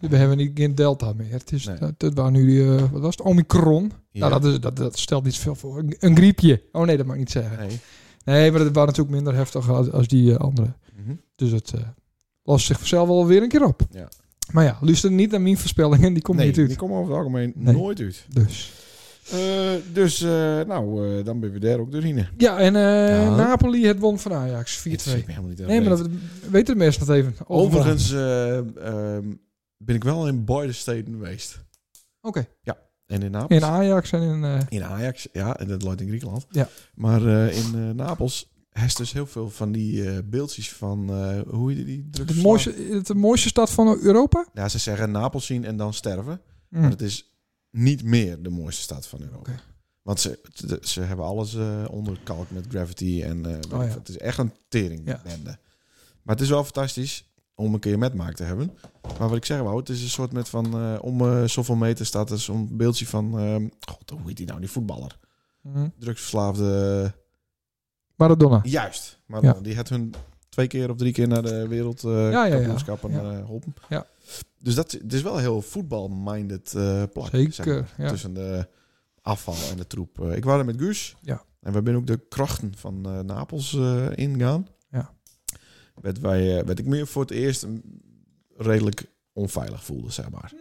S3: We hebben niet geen delta meer. Het is,
S1: Nee.
S3: dat, dat waren nu, die, eh, wat was het, omicron.
S1: Ja.
S3: Nou, dat, is, dat, dat stelt niet veel voor. Een, een griepje. Oh nee, dat mag ik niet zeggen.
S1: Nee.
S3: Nee, maar dat waren natuurlijk minder heftig als, als die eh, andere.
S1: Mhm.
S3: Dus het eh, lost zichzelf wel weer een keer op.
S1: Ja.
S3: Maar ja, luister niet naar mijn voorspellingen, die komt
S1: nee,
S3: niet uit.
S1: die komen over het algemeen
S3: Nee.
S1: nooit uit.
S3: Dus.
S1: Eh, dus, eh, nou, eh, dan ben je daar ook doorheen. Het
S3: Ja, en eh,
S1: Ja.
S3: Napoli het won van Ajax, 4-2.
S1: zit me helemaal niet
S3: Nee, maar dat weten de mensen dat even. Overmorgen.
S1: Overigens eh, ehm, ben ik wel in beide steden geweest.
S3: Oké,
S1: En in Napels.
S3: in Ajax en in... eh,
S1: In Ajax, ja, en dat loopt in Griekenland.
S3: Ja.
S1: Maar eh, in eh, Napels heeft dus heel veel van die eh beeldjes van eh, hoe heet die drugs.
S3: de, mooiste, het, de mooiste stad van Europa?
S1: Ja, ze zeggen Napels zien en dan sterven.
S3: Hm.
S1: Maar het is niet meer de mooiste stad van Europa.
S3: Oké.
S1: Want ze, ze- ze hebben alles eh onderkalkt met gravity en eh, weet ik
S3: Oh, ja.
S1: veel. het is echt een teringbende. Maar het is wel fantastisch om een keer metmaak te hebben. Maar wat ik zeg wou, het is een soort met van eh, om eh, zoveel meter staat er zo'n beeldje van ehm, god, hoe heet die nou, die voetballer?
S3: Hm.
S1: Drugsverslaafde.
S3: Maradona.
S1: Juist. Maar
S3: Ja.
S1: dan, die had hun twee keer of drie keer naar de
S3: ja, ja.
S1: wereldkampioenschappen eh
S3: Ja.
S1: ja, holpen.
S3: Ja.
S1: Dus dat het is wel een heel voetbal-minded eh plak.
S3: Zeker,
S1: zeg maar.
S3: ja.
S1: Tussen de afval en de troep. Eh, ik was er met Guus.
S3: Ja.
S1: En we zijn ook de krachten van eh, Napels eh, ingaan.
S3: Ja.
S1: Werd, wij, eh, werd ik meer voor het eerst een- redelijk onveilig voelde, zeg maar.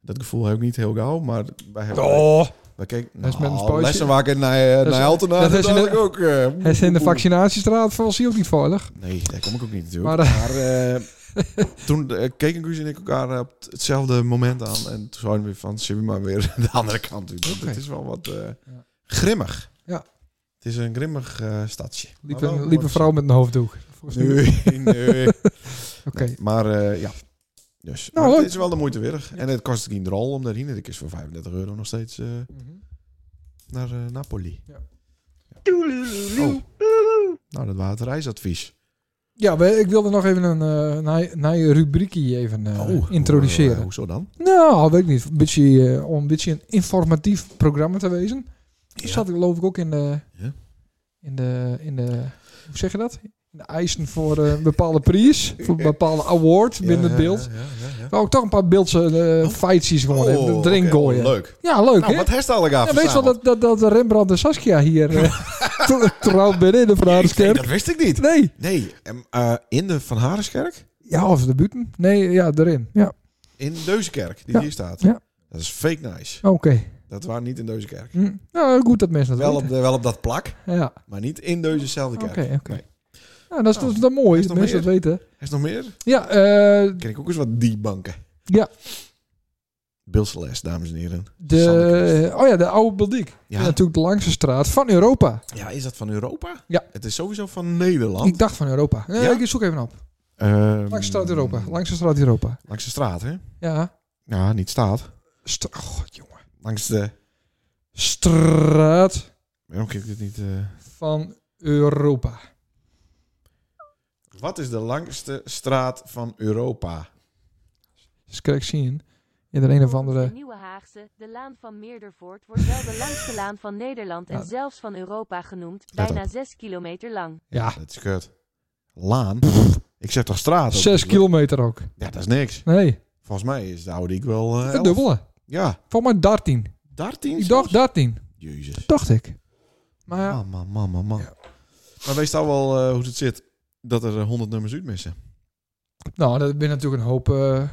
S1: Dat gevoel heb ik niet heel gauw, maar wij hebben...
S3: Hmm. Oh,
S1: wij keken,
S3: Dat is met een
S1: nou,
S3: spuitje.
S1: lessen waar ik naar,
S3: Dat is-
S1: naar Altena...
S3: dat
S1: Dat
S3: is in de-
S1: ik ook... eh,
S3: hij is in de
S1: oeh, oeh.
S3: vaccinatiestraat, volgens hij ook niet veilig.
S1: Nee, daar kom ik ook niet natuurlijk.
S3: Maar,
S1: Maar,
S3: eh,
S1: eh, toen eh, keken Guus en ik elkaar op t- hetzelfde moment aan. En toen zouden we van, zullen we maar weer de andere kant doen. Want
S3: Oké.
S1: Het is wel wat eh,
S3: Ja.
S1: grimmig.
S3: Ja.
S1: Het is een grimmig eh stadje. Maar
S3: Liep
S1: wel
S3: een, liep een
S1: mooi.
S3: vrouw met een hoofddoek. Volgens mij.
S1: Nee, nee.
S3: Oké.
S1: Maar eh, ja. Dus.
S3: Nou,
S1: maar
S3: leuk.
S1: het is wel de moeite waard. En het kost geen rol om daarheen. Ik is voor 35 euro nog steeds eh,
S3: Mhm.
S1: naar eh, Napoli.
S3: Ja.
S1: Oh. Nou, dat was het reisadvies.
S3: Ja, we- ik wilde nog even een, eh, een nij- nij rubriekje even eh,
S1: Oh. Hoe,
S3: introduceren.
S1: hoezo dan?
S3: nou, weet ik niet. Een beetje, eh, om een beetje een informatief programma te wezen. Toen zat ik geloof ik ook in de,
S1: Ja.
S3: in de, in de, hoe zeg je dat? In de eisen voor eh, een bepaalde prijs, voor een bepaalde award binnen het beeld.
S1: Ja, ja, ja, ja.
S3: ook toch een paar beeldse eh, fightsies gewoon
S1: Oh,
S3: eh, erin
S1: oké.
S3: gooien.
S1: Leuk.
S3: Ja, leuk
S1: Nou,
S3: hè?
S1: wat heeft al gaaf
S3: Ja, weet je wel dat, dat, dat Rembrandt en Saskia hier eh, tr- trouwd binnen in de Van Arendskerk?
S1: Dat wist ik niet.
S3: Nee.
S1: Nee, em, eh, in de Van Hareskerk?
S3: Ja, of de buiten. Nee, ja, erin. Ja,
S1: In Deuzekerk, die
S3: Ja.
S1: hier staat.
S3: Ja.
S1: Dat is fake nice.
S3: oké.
S1: Dat waren niet in Deuzekerk.
S3: Hm. Nou, goed dat mensen dat
S1: Wel op,
S3: weten.
S1: de- wel op dat plak,
S3: Ja,
S1: maar niet in dezezelfde
S3: oké,
S1: kerk.
S3: oké.
S1: Nee.
S3: Nou, dat is,
S1: Nou,
S3: dat is dan mooi,
S1: is
S3: dat
S1: nog
S3: mensen dat weten.
S1: Is er nog meer?
S3: Ja, eh,
S1: Ken ik ook eens wat die banken.
S3: Ja.
S1: Bilseles, dames en heren.
S3: de,
S1: Zandekerst.
S3: oh ja, de oude Baldiek.
S1: Ja.
S3: Ja. Natuurlijk de langste straat van Europa.
S1: Ja, is dat van Europa?
S3: Ja.
S1: Het is sowieso van Nederland.
S3: Ik dacht van Europa. Nee,
S1: Oh. Ja?
S3: Ik zoek even op.
S1: Ehm,
S3: Langste straat Europa. Langste straat Europa.
S1: Langs de straat, hè?
S3: Ja.
S1: Ja, niet staat.
S3: Stra oh, God, jongen.
S1: Langs de...
S3: Straat
S1: Waarom kan ik dit niet... eh?
S3: van Europa.
S1: Wat is de langste straat van Europa?
S3: Dus kan ik zien in de een of andere...
S4: De Nieuwe Haagse, de Laan van Meerdervoort, wordt wel de langste laan van Nederland en
S3: Ja.
S4: zelfs van Europa genoemd,
S1: Let
S4: bijna 6 kilometer lang.
S3: Ja,
S1: Dat is kut. Laan? Ik zeg toch straat? ook?
S3: zes kilometer ook.
S1: Ja, dat is niks.
S3: Nee,
S1: Volgens mij is de oude ik wel... eh,
S3: het
S1: elf.
S3: dubbele.
S1: Ja.
S3: Voor mij 13.
S1: 13?
S3: Ik
S1: zelfs? Ah.
S3: dacht 13.
S1: Jezus.
S3: Dat dacht ik. Maar ja,
S1: Man, man, man, man, man.
S3: Ja.
S1: Maar wees nou wel eh, hoe het zit dat er eh, 100 nummers uit missen.
S3: nou, dat ben natuurlijk een hoop eh,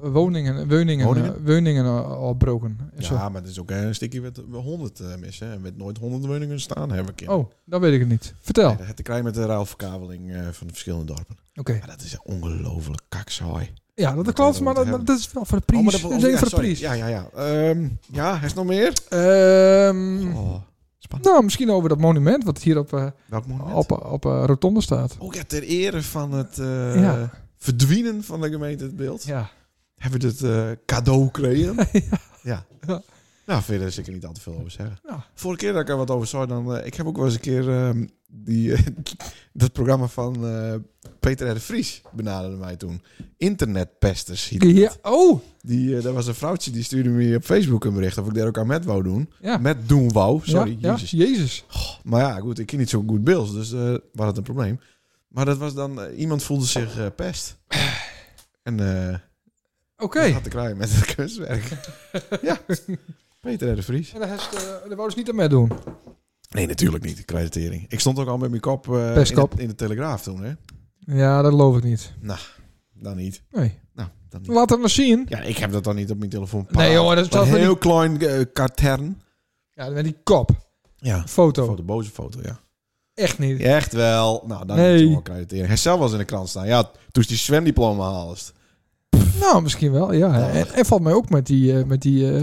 S3: woningen, woningen,
S1: Woningen?
S3: eh, woningen eh, opbroken. En zo.
S1: Ja, maar het is ook eh, een stukje met 100 eh, missen. En met nooit 100 woningen staan, hebben we
S3: Oh, dat weet ik het niet. Vertel.
S1: Het te krijgen met de ruilverkabeling eh, van de verschillende dorpen.
S3: Oké.
S1: Ja, dat is ongelooflijk kaksaai.
S3: Ja, dat klopt, maar dat, maar dat is wel voor de prijs.
S1: Oh, maar
S3: dat is even
S1: ja,
S3: voor de
S1: sorry.
S3: prijs.
S1: Ja, ja, ja. Ehm, ja, is er nog meer?
S3: Ehm,
S1: Oh, spannend.
S3: Nou, misschien over dat monument wat hier op, eh,
S1: Welk monument?
S3: op, op eh, Rotonde staat.
S1: Ook ja, ter ere van het eh,
S3: Ja.
S1: verdwijnen van de gemeente het beeld.
S3: Ja.
S1: Hebben we het eh, cadeau gekregen.
S3: ja.
S1: ja.
S3: Ja.
S1: Nou, verder zeker niet al te veel over zeggen.
S3: Ja.
S1: Vorige keer dat ik er wat over zei, dan... eh, ik heb ook wel eens een keer ehm, die, eh, dat programma van eh, Peter R. de Vries benaderde mij toen. Internetpesters. heette
S3: Ja,
S1: dat.
S3: Oh,
S1: Die, eh, daar was een vrouwtje die stuurde me op Facebook een bericht of ik daar ook aan met wou doen.
S3: ja.
S1: Met doen wou, sorry.
S3: ja,
S1: Jezus.
S3: Ja, Jezus.
S1: Maar ja, goed, ik ken niet zo goed Bills, dus eh was het een probleem. Maar dat was dan... eh, iemand voelde zich eh, pest. En... eh,
S3: Oké.
S1: dat had te krijgen met het kunstwerk. ja. Peter R. de Vries.
S3: En daar heeft, eh, daar wou ze niet aan meedoen.
S1: Nee, natuurlijk niet. Kreditering. Ik stond ook al met mijn kop, eh,
S3: Pestkop.
S1: In, de, in de Telegraaf toen, hè?
S3: Ja, dat geloof ik niet.
S1: Dan niet.
S3: Nee.
S1: Nou, dan niet.
S3: Laat het maar zien.
S1: Ja, ik heb dat dan niet op mijn telefoon.
S3: nee, jongen, dat is
S1: Een
S3: toch met
S1: heel
S3: die,
S1: klein eh, katern.
S3: ja, met die kop.
S1: Ja.
S3: Foto.
S1: Voor de boze foto, ja.
S3: Echt niet.
S1: Echt wel. Nou, dan
S3: Nee.
S1: nee. niet wel kreditering. Hij zelf was in de krant staan. Ja, toen is die zwemdiploma haalst.
S3: Nou, misschien wel, ja.
S1: Ja.
S3: En, en valt mij ook met die... eh, met die eh,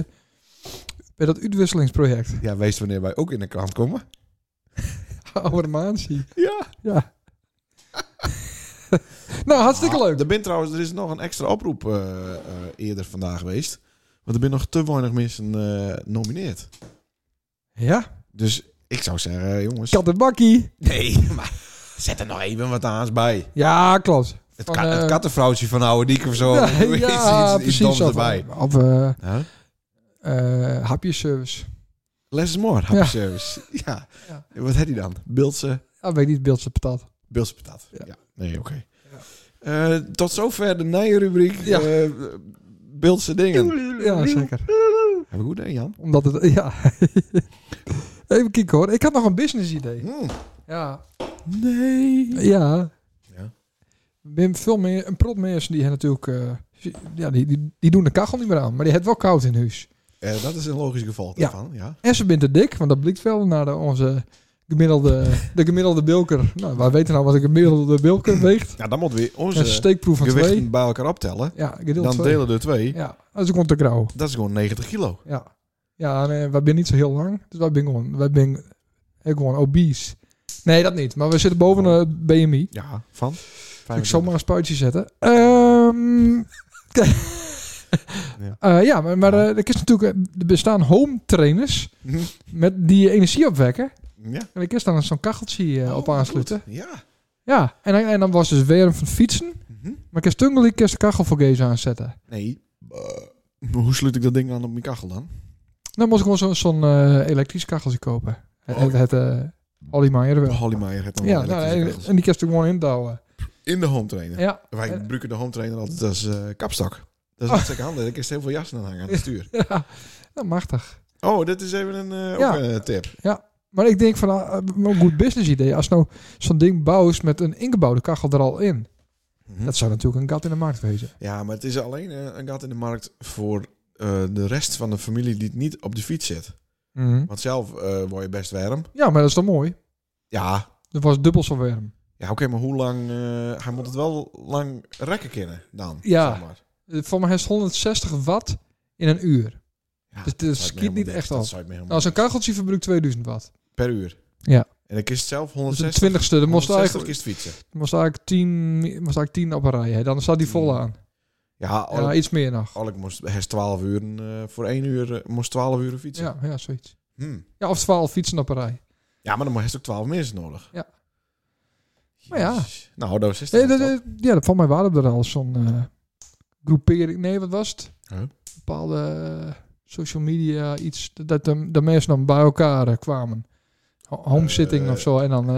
S3: bij dat uitwisselingsproject.
S1: Ja, wees wanneer wij ook in de krant komen.
S3: Oude maansie.
S1: Ja.
S3: Ja. nou, hartstikke leuk.
S1: Ah, Er, bent trouwens, er is nog een extra oproep eh, eh, eerder vandaag geweest. Want er zijn nog te weinig mensen eh nomineerd.
S3: Ja.
S1: Dus ik zou zeggen, jongens...
S3: Kat en bakkie.
S1: Nee, maar zet er nog even wat aans bij.
S3: Ja, klopt.
S1: Het,
S3: Van,
S1: ka- het
S3: eh,
S1: kattenvrouwtje van oude diek of zo.
S3: ja,
S1: Iets- iets-
S3: ja,
S1: iets doms
S3: precies. Of,
S1: erbij.
S3: of eh
S1: Huh?
S3: eh, hapjeservice.
S1: Less is more, happy
S3: Ja.
S1: service. Ja.
S3: Ja.
S1: Wat had hij dan? Beeldse,
S3: Ah, weet ik niet, beeldse patat.
S1: Beeldse patat.
S3: Ja.
S1: Ja. Nee, oké. Eh, tot zover de Nijenrubriek.
S3: Ja.
S1: rubriek Beeldse dingen.
S3: Ja, zeker.
S1: Hebben we goed, hè, Jan?
S3: Omdat het... Ja. Even kijken hoor. Ik had nog een business idee.
S1: Mm.
S3: Ja.
S1: Nee.
S3: Ja.
S1: Ja.
S3: Er zijn veel meer, een prop mensen die hebben natuurlijk, eh, ja, die, die, die doen de kachel niet meer aan, maar die heeft wel koud in huis.
S1: Eh, dat is een logisch gevolg
S3: Ja.
S1: daarvan, ja.
S3: En ze bent te dik, want dat blikt wel naar de, onze gemiddelde, de gemiddelde bilker. Nou, wij weten nou wat een gemiddelde bilker weegt.
S1: Ja, dan moeten we onze
S3: Een steekproef van
S1: gewichten
S3: twee.
S1: bij elkaar optellen.
S3: Ja, gedeeld
S1: Dan
S3: twee.
S1: delen we er twee.
S3: Ja, dat is gewoon te grauw.
S1: Dat is gewoon 90 kilo.
S3: Ja. Ja, en, eh, wij zijn niet zo heel lang, dus wij zijn gewoon, wij zijn eh, gewoon obese. Nee, dat niet, maar we zitten boven
S1: Oh.
S3: de BMI.
S1: Ja, van?
S3: Ik zal maar een spuitje zetten. Ehm,
S1: Ja.
S3: Eh, ja, maar, maar eh, er, is natuurlijk, eh, er bestaan home trainers met die je energie opwekken.
S1: Hm, Ja.
S3: En ik is dan zo'n kacheltje eh, op aansluiten.
S1: Oh, Goed, Ja. Hm.
S3: Ja, en, dan- en dan was dus weer van fietsen. Maar ik is tungel, ik is de kachel voor Gees aanzetten.
S1: Nee. Maar hoe sluit ik dat ding aan op mijn kachel dan?
S3: Dan moest ik gewoon zo- zo'n eh, elektrisch kacheltje kopen. Het,
S1: Oh,
S3: het, het eh, Olly Meijer wel.
S1: Holly Meijer heeft dan
S3: Ja,
S1: wel
S3: nou, en,
S1: elektrische
S3: en die
S1: kachels.
S3: kun je natuurlijk gewoon indouwen.
S1: In de home trainer.
S3: Ja, Oh.
S1: Wij
S3: en-
S1: gebruiken de home trainer altijd als eh, kapstok. Dat is hartstikke handig. Ik is heel veel jassen aan hangen aan het stuur.
S3: ja, nou, machtig.
S1: Oh, dit is even een, eh,
S3: Ja.
S1: ook een tip.
S3: Maar ik denk van, ah, een goed business idee. Als nou zo'n ding bouwt met een ingebouwde kachel er al in.
S1: Mhm.
S3: Dat zou natuurlijk een gat in de markt wezen.
S1: Ja, maar het is alleen eh, een gat in de markt voor eh, de rest van de familie die niet op de fiets zit. Want zelf eh, word je best warm.
S3: Ja, maar dat is toch mooi?
S1: Ja,
S3: Dat was dubbel zo warm.
S1: ja oké, maar hoe lang... eh, hij moet het wel lang rekken kennen dan.
S3: Ja.
S1: zeg maar.
S3: Eh, Voor mij is 160 watt in een uur.
S1: Ja,
S3: Dus
S1: dat
S3: het
S1: zou ik me
S3: skiet
S1: helemaal
S3: niet
S1: niks-
S3: echt
S1: Dat
S3: af.
S1: zou ik me helemaal
S3: Nou, zo'n
S1: niks-
S3: kacheltje verbruikt 2000 watt.
S1: Per uur.
S3: Ja.
S1: En ik is het zelf
S3: Dat is
S1: 160.
S3: een twintigste. Dan moest
S1: 160
S3: eigenlijk,
S1: kist fietsen.
S3: moest eigenlijk 10 moest eigenlijk 10 op een rij. hè. Dan staat die vol aan.
S1: Ja, al,
S3: Ja, iets meer nog.
S1: al ik moest herst 12 uur eh, voor 1 uur eh, moest 12 uur fietsen.
S3: Ja, ja, zoiets.
S1: Hmm.
S3: Ja, of 12 fietsen op een rij.
S1: Ja, maar dan heeft ook 12 mensen nodig.
S3: Ja. Maar ja.
S1: Jezus. Nou, dat is het.
S3: Nee, dat, dat- ja, dat, van mij waren er al zo'n eh, groepering. Nee, wat was het?
S1: Huh?
S3: Bepaalde eh, social media iets. Dat, dat de, de mensen dan bij elkaar eh, kwamen. Ho- Homesitting
S1: Eh,
S3: of zo. En dan eh,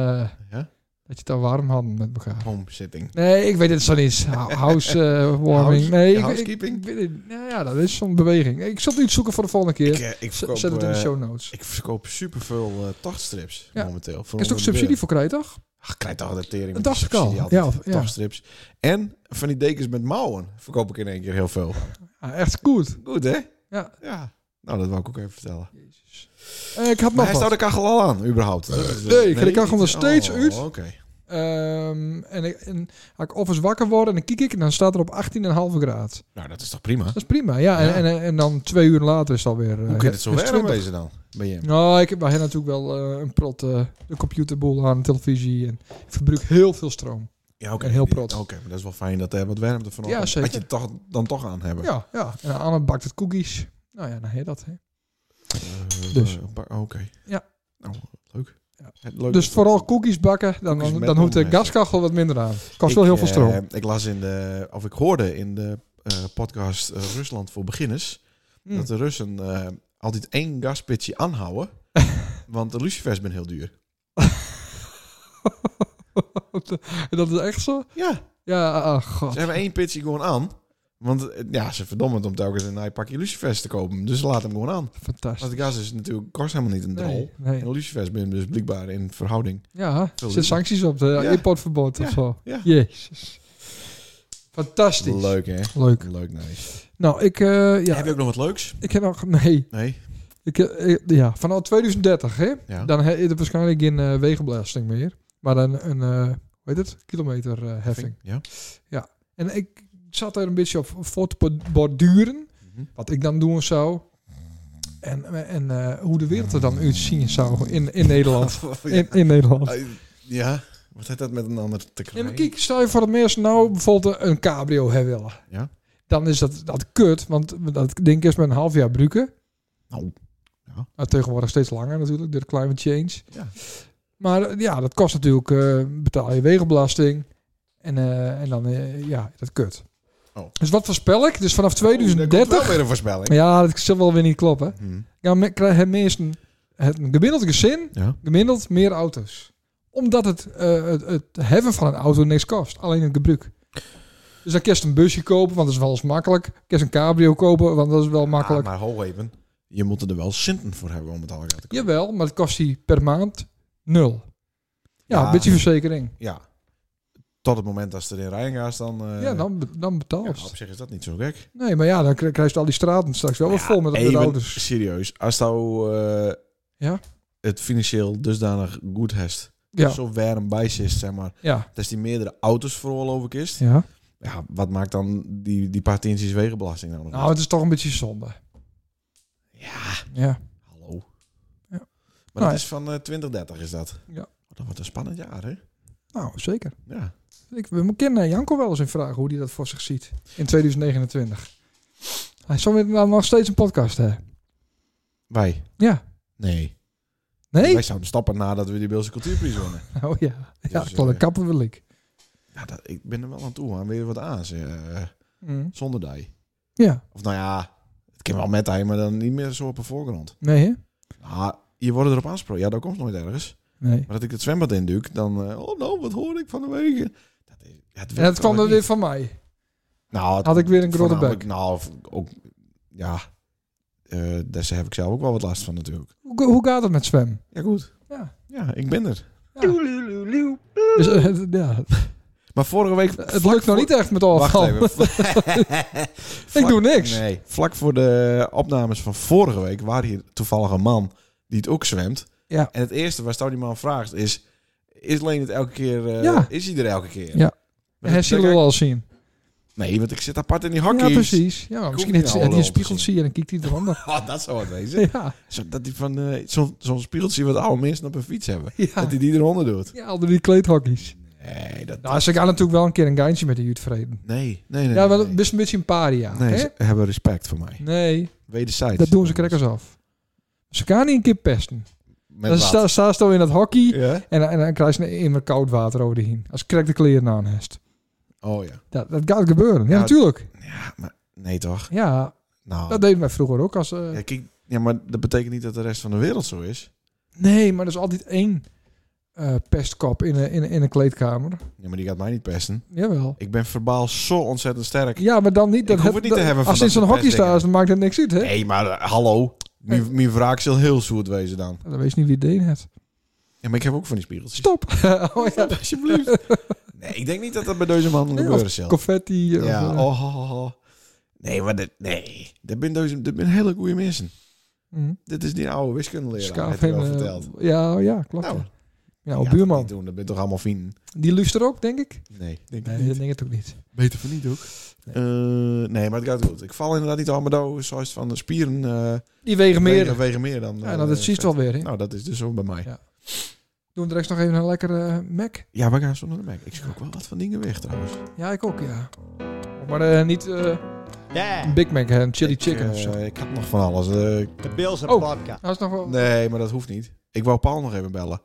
S1: Ja?
S3: dat je het dan warm hadden met elkaar.
S1: Home sitting.
S3: Nee, ik weet het zo niet. Hou- House eh, warming.
S1: House-
S3: Nee, ik,
S1: housekeeping?
S3: Ik, ik weet het- nou ja, dat is zo'n beweging. Ik zal het uitzoeken voor de volgende keer.
S1: Ik, eh, ik
S3: Z-
S1: verkoop,
S3: Zet het in de
S1: eh,
S3: show notes.
S1: ik verkoop superveel eh tachtstrips
S3: Ja.
S1: momenteel. Voor
S3: Er is
S1: onder
S3: ook
S1: de
S3: subsidie
S1: deur.
S3: voor krijg, toch?
S1: Ach, ik krijg de adaptering. met
S3: Dat
S1: die
S3: dacht ik al.
S1: subsidie altijd.
S3: Ja, of- ja.
S1: Tachtstrips. En van die dekens met mouwen verkoop ik in één keer heel veel.
S3: Ah, echt goed.
S1: Goed, hè?
S3: Ja.
S1: Ja. Nou, dat wou ik ook even vertellen.
S3: Jezus. Eh, ik had
S1: Maar
S3: nog
S1: hij
S3: wat.
S1: staat de kachel al aan, überhaupt. Dat is, eh,
S3: nee, ik krijg hem
S1: niet-
S3: nog steeds
S1: oh,
S3: uit.
S1: Oké.
S3: Ehm, en, ik, en als ik of eens wakker word en dan kijk ik en dan staat er op 18,5 graad.
S1: Nou, dat is toch prima?
S3: Dat is prima, ja. En,
S1: Ja.
S3: En, en dan twee uur later is het alweer...
S1: Hoe kan het zo warm
S3: zijn?
S1: wezen dan? Bij je?
S3: Nou, ik heb bij hen natuurlijk wel eh, een prot eh, de computerboel aan, de televisie. En ik verbruik heel veel stroom.
S1: Ja, oké.
S3: En heel prot.
S1: Oké, maar dat is wel fijn dat er wat warmte vanaf.
S3: Ja, zeker.
S1: Dat je het toch, dan toch aan hebben.
S3: Ja, ja. En Anne bakt het cookies. Nou ja, dan heet dat. Hè.
S1: Oh, Eh,
S3: Dus.
S1: eh, ba- Oké.
S3: Ja.
S1: Nou, leuk.
S3: Ja.
S1: Het leuk
S3: Dus
S1: dat-
S3: vooral cookies bakken, dan,
S1: Cookies
S3: dan,
S1: met
S3: dan hoeft de
S1: bloemen,
S3: gaskachel wat minder aan. Kost
S1: Ik,
S3: wel heel veel
S1: eh,
S3: stroom.
S1: ik las in de, of ik hoorde in de eh, podcast eh, Rusland voor beginners,
S3: Hm.
S1: dat de Russen eh, altijd één gaspitje aanhouden, want de lucifers zijn heel duur.
S3: dat is echt zo?
S1: Ja,
S3: Ja, ah, god.
S1: ze hebben één pitje gewoon aan, want eh, ja, ze verdommen het om telkens een naai pakje lucifers te kopen, dus ze laten hem gewoon aan.
S3: Fantastisch.
S1: Want de gas is natuurlijk, kost helemaal niet een drol.
S3: Nee, nee.
S1: En de lucifers zijn dus blijkbaar in verhouding.
S3: Ja, er
S1: liever.
S3: zitten sancties op. De
S1: Ja.
S3: importverbod of
S1: Ja,
S3: zo.
S1: ja.
S3: Jezus. Fantastisch.
S1: Leuk hè?
S3: Leuk.
S1: Leuk, nice.
S3: Nou, ik, eh, ja,
S1: Heb je ook nog wat leuks?
S3: ik heb nog... Nee.
S1: Nee?
S3: Ik, eh, ik- ja, vanaf 2030, hè?
S1: Ja.
S3: Dan he- is er waarschijnlijk geen eh, wegenbelasting meer. Maar een, een eh, hoe heet het? Kilometerheffing. heffing
S1: Ja.
S3: en ik zat er een beetje op voor te borduren.
S1: Mhm.
S3: Wat ik dan doen zou. En, en eh, hoe de wereld er dan uitzien zou in, in Nederland. In, in Nederland.
S1: Eh, ja, wat heeft dat met een ander te
S3: Nee,
S1: krijgen?
S3: maar kijk, stel je voor dat mensen nou bijvoorbeeld een cabrio hebben willen.
S1: Ja.
S3: Dan is dat, dat kut, want dat ding is met een half jaar bruiken.
S1: Nou,
S3: Nou, tegenwoordig steeds langer natuurlijk, door de climate change.
S1: Ja.
S3: Maar eh, ja, dat kost natuurlijk, eh, betaal je wegenbelasting. En, eh, en dan, eh, ja, dat kut.
S1: Oh.
S3: Dus wat voorspel ik? Dus vanaf 2030...
S1: Dat weer een voorspelling.
S3: ja, dat zal wel weer niet kloppen.
S1: Hm.
S3: Dan me- krijgen mensen het een gemiddeld gezin,
S1: Ja.
S3: gemiddeld meer auto's. Omdat het, eh, het, het hebben van een auto niks kost, alleen het gebruik. Dus dan kerst een busje kopen, want dat is wel eens makkelijk. Kerst een cabrio kopen, want dat is wel makkelijk.
S1: Ah, maar ho even, je moet er wel centen voor hebben om het allemaal te kopen.
S3: Jawel, maar het kost die per maand nul. Ja,
S1: Ja.
S3: een beetje verzekering.
S1: Ja. Tot het moment dat ze erin rijden gaat, dan... eh,
S3: ja, dan, be- dan betaal
S1: ja,
S3: je.
S1: op zich is dat niet zo gek.
S3: Nee, maar ja, dan kri- krijg je al die straten straks wel weer
S1: Maar ja,
S3: vol met, met
S1: even
S3: auto's.
S1: Serieus, als jou eh,
S3: Ja?
S1: het financieel dusdanig goed hebt,
S3: Ja,
S1: zo warm bij zit, zeg maar,
S3: ja,
S1: dat die meerdere auto's veroorloven is, ja.
S3: ja.
S1: wat maakt dan die, die paar tientjes wegenbelasting nou nog?
S3: Nou, het is toch een beetje zonde.
S1: Ja,
S3: Ja.
S1: hallo.
S3: Ja.
S1: Maar
S3: Nou,
S1: dat is van eh, 2030 is dat. Oh,
S3: Ja.
S1: Dat wordt een spannend jaar, hè?
S3: Nou, zeker.
S1: Ja.
S3: Ik, we kennen Janko wel eens in vragen hoe hij dat voor zich ziet in 2029. Hij zal weer nou nog steeds een podcast hebben.
S1: Wij?
S3: Ja.
S1: Nee.
S3: Nee?
S1: Wij zouden stappen nadat we die Beelse Cultuurprijs wonnen.
S3: Oh ja. Ja,
S1: Dus,
S3: ik wil
S1: eh,
S3: een kappen wil ik.
S1: ja, dat, ik ben er wel aan toe. Aan weer wat aan. eh,
S3: Mm.
S1: zonder die.
S3: Ja.
S1: Of nou ja, het kan wel met hij, maar dan niet meer zo op de voorgrond.
S3: Nee, hè?
S1: Ah, je wordt erop aangesproken. Ja, dat komt nooit ergens.
S3: Nee.
S1: Maar dat ik het zwembad induik, dan... eh, oh nou, wat hoor ik van de wegen? Dat, is, ja, het werkt
S3: En dat kwam
S1: gewoon
S3: er weer
S1: niet.
S3: van mij.
S1: Nou, het-
S3: Had ik weer een grote
S1: voornamelijk-
S3: bek.
S1: Nou, v- ook, ja, eh daar heb ik zelf ook wel wat last van natuurlijk.
S3: Hoe, hoe gaat het met zwemmen?
S1: Ja, goed.
S3: Ja.
S1: Ja, ik ben er.
S3: Dus, eh, ja.
S1: Maar vorige week...
S3: Eh, Het lukt nog niet echt met
S1: Wacht
S3: afval.
S1: even. Vlak-
S3: doe niks.
S1: Nee, vlak voor de opnames van vorige week... waren hier toevallig een man die het ook zwemt.
S3: Ja.
S1: En het eerste waar Stout die man vraagt is... Is Leen het elke keer... eh,
S3: Ja.
S1: Is hij er elke keer?
S3: Ja.
S1: Maar
S3: Hij
S1: dat-
S3: zullen
S1: dat-
S3: we al zien.
S1: Nee, want ik zit apart in die hokjes.
S3: Ja, precies. Ja, maar misschien heeft
S1: nou
S3: hij
S1: wel
S3: een
S1: op
S3: spiegel
S1: gezien.
S3: zien en dan kijkt hij eronder.
S1: Oh, dat zou het wezen.
S3: ja,
S1: Zo, dat die van eh, zo'n zo'n spiegeltje wat oude mensen op hun fiets hebben.
S3: ja.
S1: Dat die die eronder doet.
S3: ja, al die kleedhokjes.
S1: Nee, dat...
S3: Nou, ze gaan natuurlijk wel een keer een geintje met de Jut vreden.
S1: Nee, nee, nee.
S3: Ja, wel
S1: nee.
S3: best een beetje een paria.
S1: Nee,
S3: hè?
S1: ze hebben respect voor mij.
S3: nee
S1: Wederzijds.
S3: dat doen ze krekkers af. Ze gaan niet een keer pesten.
S1: Met
S3: Dan
S1: wat?
S3: sta, staan ze dan in dat hockey
S1: Ja?
S3: en, en dan krijg je immer koud water over de heen. Als krek de kleren aan heeft.
S1: Oh ja.
S3: Dat, dat gaat gebeuren. Ja,
S1: Ja.
S3: natuurlijk.
S1: Ja, maar nee toch?
S3: Ja,
S1: Nou.
S3: dat deden wij vroeger ook. Als, eh,
S1: ja, kijk, ja, maar dat betekent niet dat de rest van de wereld zo is.
S3: Nee, maar er is altijd één eh, pestkap in een, in, een- in een kleedkamer.
S1: Ja, maar die gaat mij niet pesten.
S3: Jawel.
S1: Ik ben verbaal zo ontzettend sterk.
S3: Ja, maar dan niet.
S1: Ik hoef het niet te hebben van
S3: Als
S1: dat
S3: dit zo'n
S1: soort
S3: hockey staat,
S1: pestdingen.
S3: dan maakt het niks uit, hè?
S1: Nee, maar eh, hallo. Mijn mijn wraak zal heel zoet wezen dan.
S3: Dan weet je niet wie het deed het.
S1: Ja, maar ik heb ook van die spiegeltjes.
S3: Stop! oh ja,
S1: Alsjeblieft. Nee, ik denk niet dat dat bij deze man
S3: Nee,
S1: gebeuren zal.
S3: confetti. of,
S1: Ja,
S3: eh,
S1: oh, oh, oh, oh. Nee, maar dit, nee. Dit zijn deze- dit zijn hele goede mensen.
S3: mm,
S1: Dit is die oude wiskundeleraar,
S3: schaaf
S1: heeft hij wel
S3: en, eh,
S1: verteld.
S3: Ja, oh ja, klopt.
S1: Nou,
S3: ja. ja, oh,
S1: Ja,
S3: buurman.
S1: Dat, niet doen, dat ben toch allemaal vrienden?
S3: Die luistert ook, denk ik.
S1: Nee, denk ik
S3: Nee,
S1: niet.
S3: dat denk ik ook niet.
S1: Beter van niet ook.
S3: Nee.
S1: nee, maar het gaat goed. Ik val inderdaad niet allemaal dood. Zoals van de spieren eh
S3: Die wegen meer.
S1: wegen, wegen meer dan...
S3: Ja,
S1: eh,
S3: nou, dat zie je
S1: vet.
S3: toch weer, hè?
S1: Nou, dat is dus zo bij mij.
S3: Ja.
S1: Ja,
S3: Doen we direct nog even een lekkere eh, Mac?
S1: we gaan zo naar de Mac. Ik schrok wel wat van dingen weg trouwens.
S3: Ja, ik ook, ja. Maar eh, niet eh,
S2: Yeah,
S3: een Big Mac, hè? Een chili
S1: Ik,
S3: chicken
S1: eh,
S3: of zo.
S1: ik had nog van alles. eh,
S2: de Bills en
S3: Oh.
S2: vodka.
S3: Hij is nog wel...
S1: nee, maar dat hoeft niet. Ik wou Paul nog even bellen.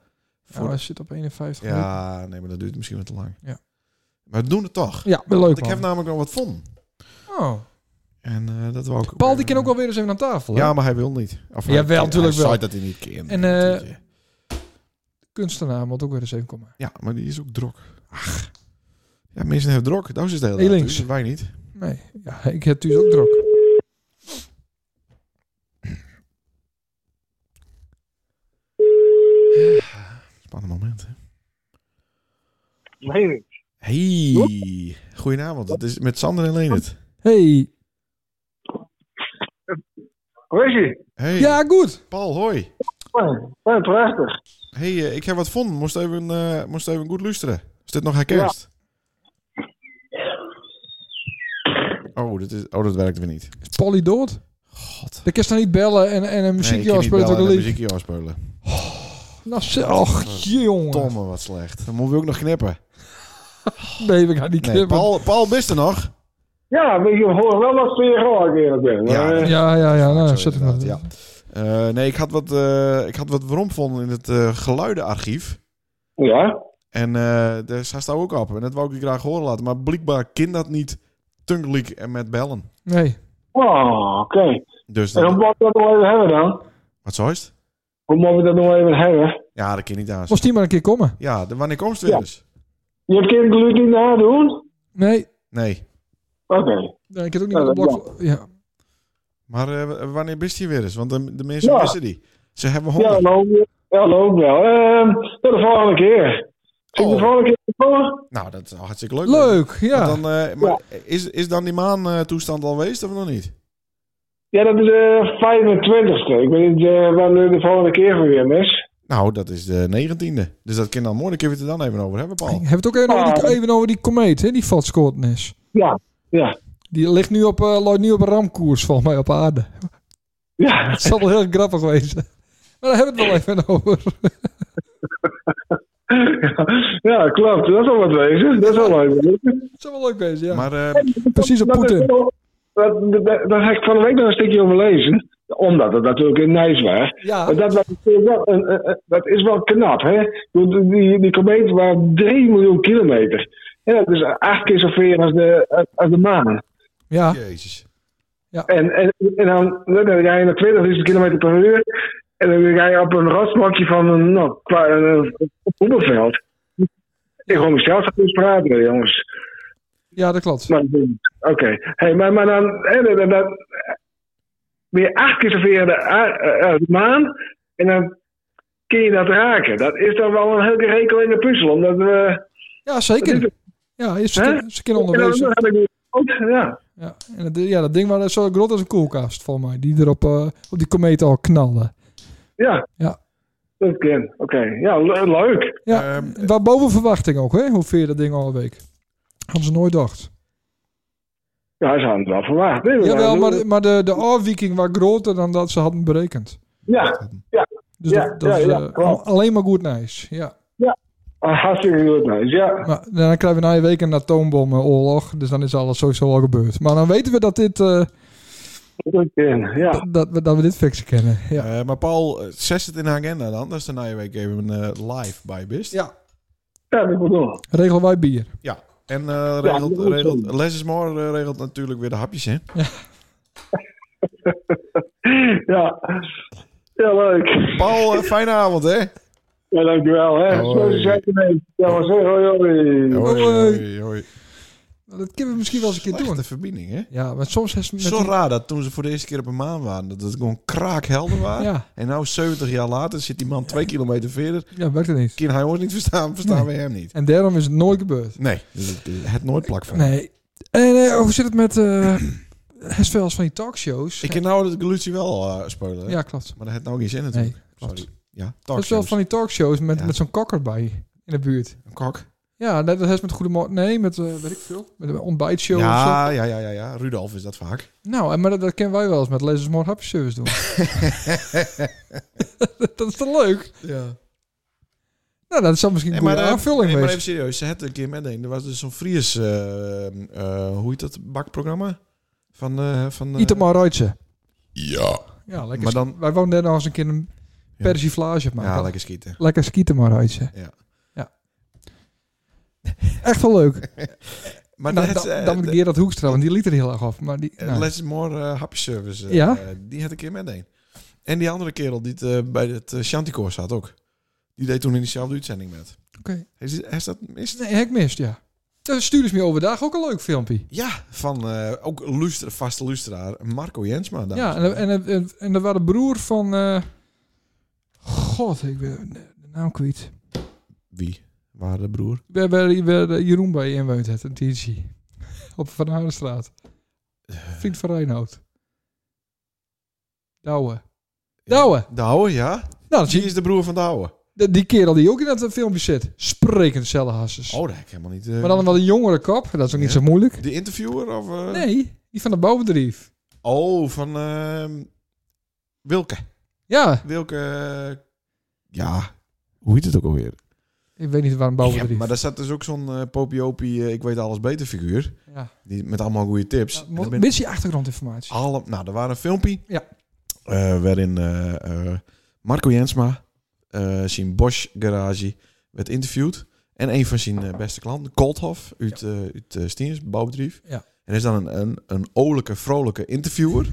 S3: Oh, hij zit op 51 minuten.
S1: Ja, nee, maar dat duurt misschien wat te lang.
S3: Ja.
S1: Maar we doen het toch.
S3: Ja, wel leuk,
S1: Want ik heb nou- namelijk wel wat vonden.
S3: man. Oh.
S1: En eh, dat wou ik ook
S3: Paul, die
S1: even-
S3: kan ook wel weer eens even aan tafel. hè?
S1: Ja, maar hij wil niet. Of hij-
S3: Jawel,
S1: hij-
S3: natuurlijk
S1: hij
S3: wel.
S1: zei dat hij niet kan.
S3: En, eh, Kunstenaar moet ook weer eens even komen.
S1: ja, maar die is ook drok. Ach. Ja, mensen hebben drok. Dat is het hele
S3: Heel
S1: dag
S3: links.
S1: natuurlijk. Wij niet.
S3: Nee, ja, ik heb dus ook druk.
S1: Spannend moment. hè.
S5: Nee,
S1: Hey. Goedenavond. Het is met Sander en Leendert.
S3: Hey.
S5: hoe is ie?
S1: Hey.
S3: Ja, goed.
S1: Paul, hoi.
S5: Fijn, fijn, prachtig.
S1: Hey, eh, ik heb wat vonden. Moest even, eh, moest even goed luisteren. Is dit nog herkerst? Oh, dit is, oh, dat werkt weer niet.
S3: Is Polly dood?
S1: God.
S3: Dan kan je dan niet bellen en, en een
S1: Nee, ik
S3: muziekje
S1: kan niet
S3: afspelen
S1: bellen
S3: door
S1: en
S3: de
S1: een
S3: lied.
S1: muziekje afspelen.
S3: Nou, ze- och, jongen.
S1: Tomme, wat slecht. Dan moeten we ook nog knippen.
S3: Nee, we gaan niet
S1: Nee,
S3: knippen.
S1: Paul, Paul bist er nog.
S5: Ja, maar je hoort wel dat ze raak eerlijk ben.
S1: Ja.
S5: Maar, eh,
S3: Ja, ja, ja. Nou,
S1: Zo
S3: zet hem
S1: inderdaad,
S3: maar.
S1: ja. Eh, nee, ik had wat, eh ik had wat weromvonden in het eh, geluidenarchief.
S5: ja.
S1: En eh daar staat ook op. En dat wou ik je graag horen laten. Maar blijkbaar kan dat niet tungelijk en met bellen.
S3: Nee.
S5: Oh, oké.
S1: Dus
S5: En hoe
S1: dat,
S5: moeten we dat nog even hebben dan?
S1: wat zo is het?
S5: Hoe moeten we dat nog even hebben?
S1: Ja, dat kan niet aan.
S3: Moest die maar een keer komen?
S1: Ja, de, wanneer komst weer
S5: Ja.
S1: eens?
S5: Je kunt het geluid niet nadoen?
S3: Nee.
S1: Nee.
S5: Oké.
S3: Nee, ik heb ook niet op de blok. Ja.
S1: Maar eh, wanneer bist hij weer eens? Want de, de mensen
S5: Ja.
S1: missen die. Ze hebben
S5: Ja,
S1: honger.
S5: dat hoop ik- ja, dat hoop ik wel. Ehm, tot de volgende keer. Zie ik
S1: Oh.
S5: de volgende keer komen?
S1: Nou, dat is hartstikke leuk.
S3: Leuk, ja.
S1: Want Dan, eh, maar is, is dan die maantoestand al geweest of nog niet?
S5: Ja, dat is de 25ste. Ik weet niet eh, wanneer de volgende keer voor weer is.
S1: Nou, dat is de 19e. Dus dat kan dan mooi. Dan kunnen we het er dan even over hebben, Paul.
S3: Hebben we het ook even over die,
S5: Ah.
S3: even over die komeet, hè, die vatskoten is.
S5: Ja, ja.
S3: Die ligt nu op, eh loopt nu op een ramkoers, volgens mij, op aarde.
S5: Ja,
S3: Het zal wel heel grappig wezen. Maar daar hebben we het wel even over.
S5: ja klopt. Dat zal wat wezen. Dat zal wel wat wezen.
S3: Het zal wel leuk wezen, ja.
S1: Maar eh,
S3: Precies op
S5: Dat is
S3: Poetin.
S5: wel- Dat, dat, dat, daar heb ik van de week nog een stukje over lezen. Omdat het natuurlijk in Nijs was.
S3: Ja,
S5: Maar Dat, was natuurlijk wel een- een- een- dat is wel knap, hè? Ik bedoel, Die, die komeet was 3 miljoen kilometer. En dat is acht keer zoveel als de, als de maan.
S3: ja.
S1: jezus.
S5: En, en, en dan, dan ga je naar 20.000 kilometer per uur. En dan ga je op een rotsblokje van een, nou, qua- een, een voetbalveld. Ik hoor mezelf goed praten, jongens.
S3: Ja, dat klopt.
S5: Maar, oké. Hey, maar, maar dan, hè, dan, dan, dan weer acht keer zoveel de, a- eh, eh, de maan. En dan kun je dat raken. Dat is dan wel een hele rekel in de puzzel. Omdat we.
S3: Ja, zeker. Ja, is
S5: Hè? nou,
S3: een keer
S5: en dan,
S3: onderwezen.
S5: heb ik die ook, ja.
S3: Ja, en dat, ja, dat ding was zo groot als een koelkast, volgens mij. Die er op, eh, op die komeet al knallen.
S5: Ja.
S3: Ja.
S5: Dat kan. Oké. Ja, le- leuk.
S3: Ja,
S1: Ehm,
S3: waar boven verwachting ook, hè? Hoe ver dat ding al een week. Hadden ze nooit gedacht.
S5: Ja, ze hadden het wel verwacht. Nee,
S3: Jawel,
S5: we-
S3: maar, maar de, de afwijking was groter dan dat ze hadden berekend.
S5: Ja,
S3: Dus
S5: Ja,
S3: dat, dat
S5: ja,
S3: is
S5: ja,
S3: eh,
S5: klopt.
S3: al- alleen maar goed nice. Ja.
S5: ah, hartstikke goed. Nice. Ja.
S3: Maar dan krijgen we na een week een atoombomenoorlog. Dus dan is alles sowieso al gebeurd. Maar dan weten we dat, dit, eh,
S5: Dat kan. Ja.
S3: dat, we, dat we dit fixen kennen. Ja.
S1: Eh, maar Paul, eh, zet het in de agenda dan. Dat is de nieuwe week even eh, live bij Bist.
S3: ja.
S5: Ja, dat bedoel ik.
S3: Regelen wij bier.
S1: En eh regelt,
S5: dat moet
S1: regelt,
S5: zo.
S1: Les is More, eh, regelt natuurlijk weer de hapjes, hè?
S5: Ja. Ja, leuk.
S1: Paul, eh, fijne avond, hè?
S5: Ja, dankjewel. Hè.
S1: Hoi.
S5: Zo is het ermee. Ja, maar zo. Hoi, hoi.
S1: Hoi, hoi, hoi.
S3: Dat kunnen we misschien wel eens een keer
S1: Slechte
S3: doen.
S1: verbinding, hè?
S3: Ja, maar soms is het met
S1: Zo
S3: die-
S1: raar dat toen ze voor de eerste keer op een maan waren, dat het gewoon kraakhelder was.
S3: Ja,
S1: En nou, 70 jaar later, zit die man twee kilometer verder.
S3: ja, werkt het niet.
S1: Kan hij ons niet verstaan, verstaan we hem niet.
S3: En daarom is het nooit gebeurd.
S1: Nee, dus het, het nooit plak van.
S3: Nee. En eh, hoe zit het met... eh het wel eens van die talkshows.
S1: Ik ken nou dat Galucci wel eh, spelen, hè?
S3: Ja, klopt.
S1: maar dat heeft nou geen zin
S3: Nee,
S1: natuurlijk.
S3: klopt.
S1: Sorry. Ja,
S3: Dat is wel
S1: talkshows.
S3: van die talkshows met,
S1: Ja.
S3: met zo'n kokker bij in de buurt.
S1: Een kok.
S3: Ja, dat dat is met Goedemorgen... Nee, met, eh weet ik veel, met een ontbijtshow of zo.
S1: Ja, ja, ja, ja, ja. Rudolf is dat vaak.
S3: Nou, en maar dat, dat kennen wij wel eens met Lezers Morgen Happy Service doen. dat is toch leuk?
S1: Ja.
S3: Nou, dat zou misschien een goede
S1: eh,
S3: aanvulling
S1: nee, maar even
S3: wezen.
S1: serieus, ze hadden een keer met een. Er was dus zo'n Fries, eh, eh, hoe heet dat bakprogramma? Van, eh van eh,
S3: Itamar Reutze.
S1: Ja.
S3: Ja, lekker.
S1: Maar
S3: Maar
S1: dan-
S3: Wij wonen daar nog eens een keer een
S1: Ja.
S3: persiflage op maken.
S1: Ja, lekker schieten.
S3: Lekker skieten maar uitje.
S1: Ja.
S3: ja. Echt wel leuk.
S1: Maar
S3: nou,
S1: dat,
S3: dan,
S1: eh,
S3: dan moet ik
S1: de-
S3: Gerard Hoekstra, want die liet er heel erg af. Maar die,
S1: eh,
S3: nou,
S1: Let's More eh, Happy Service. eh,
S3: Ja?
S1: eh, die had een keer met een. En die andere kerel die het, eh, bij het uh, Shantycore zat ook. Die deed toen in diezelfde uitzending met.
S3: Oké.
S1: Is, is dat mis?
S3: nee, heb ik mist, ja. Dat stuurde ze me overdag ook een leuk filmpje.
S1: Ja, van eh, ook luister, vaste luisteraar Marco Jensma. dames
S3: ja, en,
S1: heren.
S3: en, en, en, dat was de broer van... eh, God, ik ben de naam kwijt.
S1: Wie? Waar de broer?
S3: Waar, waar, waar eh, Jeroen bij in woont, het, een TG. Op Van Houdenstraat.
S1: Eh.
S3: Vriend van Reinoud. Douwe. Douwe!
S1: De oude, ja.
S3: Nou, dat zie
S1: Die is de broer van de oude.
S3: De- die kerel die ook in dat eh, filmpje zit. Sprekend cellenhassers.
S1: Oh, dat heb ik helemaal niet. eh,
S3: Maar dan wel een jongere kop. Dat is ook niet
S1: Ja.
S3: zo moeilijk.
S1: De interviewer of... eh,
S3: Nee, die van het bouwbedrijf.
S1: Oh, van ehm, Wilke.
S3: Ja,
S1: Wilke... eh, ja, hoe heet het ook alweer?
S3: ik weet niet waar een bouwbedrijf.
S1: Ja, maar daar zat dus ook zo'n eh popiopie, eh, ik weet alles beter figuur.
S3: Ja.
S1: Die, met allemaal goede tips.
S3: Ja,
S1: En dan
S3: mo-
S1: ben-
S3: Mis je achtergrondinformatie.
S1: alle, nou, er waren een filmpje.
S3: Ja.
S1: Eh, waarin eh, eh, Marco Jensma eh, zijn Bosch garage werd interviewd. En een van zijn eh, beste klanten, Kolthof, uit, eh uit eh, Stiens, bouwbedrijf.
S3: Ja.
S1: En er is dan een, een, een olijke, vrolijke interviewer.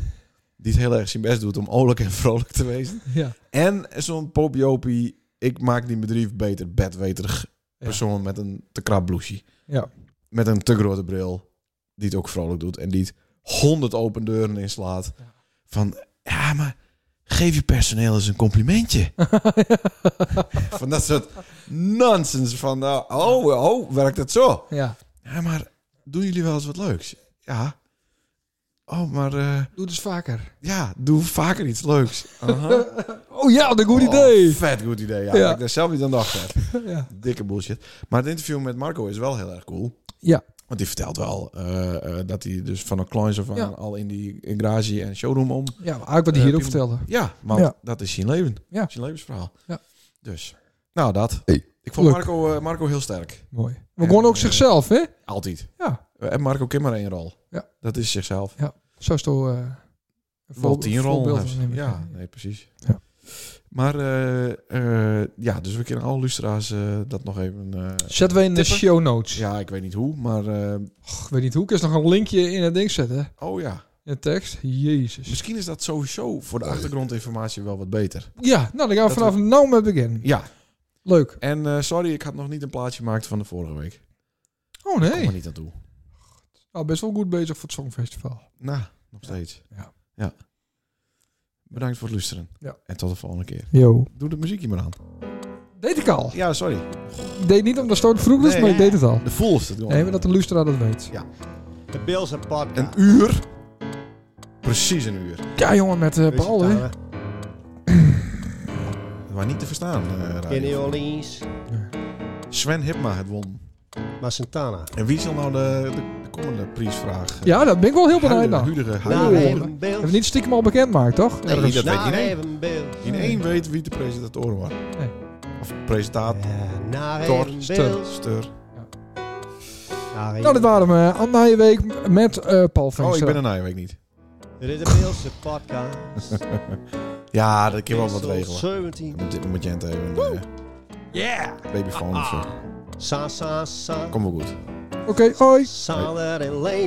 S1: Die het heel erg zijn best doet om olijk en vrolijk te wezen.
S3: Ja.
S1: En zo'n popiopie, ik maak die bedrijf beter, bedweterig persoon met een te krap blouseje.
S3: Ja.
S1: Met een te grote bril, die het ook vrolijk doet en die het honderd open deuren inslaat.
S3: Ja.
S1: Van, ja, maar geef je personeel eens een complimentje. van dat soort nonsens van, nou, oh, oh, werkt het zo?
S3: Ja.
S1: Ja, maar doen jullie wel eens wat leuks? Ja. Oh, maar eh,
S3: Doe dus vaker.
S1: ja, doe vaker iets leuks. Aha.
S3: Oh ja, wat een goed
S1: Oh,
S3: idee.
S1: Vet goed idee, ja.
S3: Ja.
S1: Dat Ik daar zelf niet aan dacht heb.
S3: Ja.
S1: Dikke bullshit. Maar het interview met Marco is wel heel erg cool.
S3: Ja.
S1: Want die vertelt wel eh, eh, dat hij dus van een kleins af aan
S3: Ja.
S1: al in die garage en showroom om.
S3: Ja, maar eigenlijk wat
S1: Eh,
S3: hij hierop
S1: Pim-
S3: vertelde.
S1: Ja, want
S3: Ja.
S1: dat is zijn leven.
S3: Ja.
S1: Zijn levensverhaal.
S3: Ja.
S1: Dus, nou dat. Ik vond
S3: Leuk.
S1: Marco, eh, Marco heel sterk.
S3: Mooi.
S1: En,
S3: Maar gewoon ook
S1: eh,
S3: zichzelf, hè?
S1: Altijd.
S3: Ja.
S1: En Marco kan maar één rol.
S3: Ja.
S1: Dat is zichzelf.
S3: Zo is het al, eh, een
S1: Wel
S3: voorbe-
S1: tien rol.
S3: voorbeeld
S1: heeft.
S3: van hem.
S1: Ja, nee, precies.
S3: Ja.
S1: Maar eh, eh, ja, dus we kunnen alle lustra's dat nog even... eh,
S3: Zetten we in de
S1: Tippen?
S3: show notes.
S1: Dus ja, ik weet niet hoe, maar... eh,
S3: Ik weet niet hoe. Ik eens nog een linkje in het ding zetten.
S1: oh ja. Oh,
S3: In de tekst. Jezus.
S1: Dus Misschien is dat sowieso voor de achtergrondinformatie wel wat beter.
S3: Ja, nou dan gaan we
S1: Dat
S3: vanaf nou met beginnen.
S1: Ja.
S3: Leuk.
S1: En eh, sorry, ik had nog niet een plaatje gemaakt van de vorige week.
S3: Oh
S1: Kom er
S3: nee.
S1: niet aan toe.
S3: Nou, best wel goed bezig voor het Songfestival.
S1: Nou, nog steeds.
S3: Ja.
S1: ja. Bedankt voor het luisteren.
S3: Ja.
S1: En tot de volgende keer.
S3: Yo.
S1: Doe de muziekje maar aan.
S3: Deed ik al.
S1: Ja, sorry.
S3: Deed niet omdat Stone vroeg was,
S1: Nee.
S3: maar ik deed het al.
S1: De full is het gewoon.
S3: Nee, maar dat de Lustra dat weet.
S2: De Bills en podcast.
S1: Een uur. Precies een uur.
S3: Ja, jongen, met eh, Paul, hè.
S1: Maar niet te verstaan. eh, radio.
S2: Kenny Orleans.
S1: Sven Hipma het won.
S2: Maar Santana.
S1: En wie zal nou de, de, de komende prijsvraag? eh,
S3: Ja, daar ben ik wel heel benieuwd
S1: huidige-
S3: naar.
S1: huidige-
S2: Naar
S1: huidige-
S2: even
S3: We
S2: Bills.
S3: hebben niet stiekem al bekend gemaakt, toch?
S1: Nee,
S3: Ergens.
S1: dat weet
S2: Naar
S1: iedereen.
S2: even Bills.
S1: In één weet wie de presentator was.
S3: Nee.
S1: Of presentator.
S2: Ja, Naar
S1: Tor,
S2: even
S1: stel.
S2: Bills.
S1: Steur.
S2: Naar even
S3: Nou, dit waren we. Aan Nijenweek met eh, Paul
S1: Oh, ik
S3: Veenstra.
S1: ben er nou, weet ik niet.
S2: Dit is de Bills en podcast.
S1: Ja, dat kan wel wat
S2: Episode
S1: regelen.
S2: 17.
S1: Op dit moment Jent even een eh,
S2: Yeah!
S1: babyfoon of zo.
S2: Sa, sa, sa.
S1: Kom wel goed.
S3: Oké, hoi.
S2: Solid and late.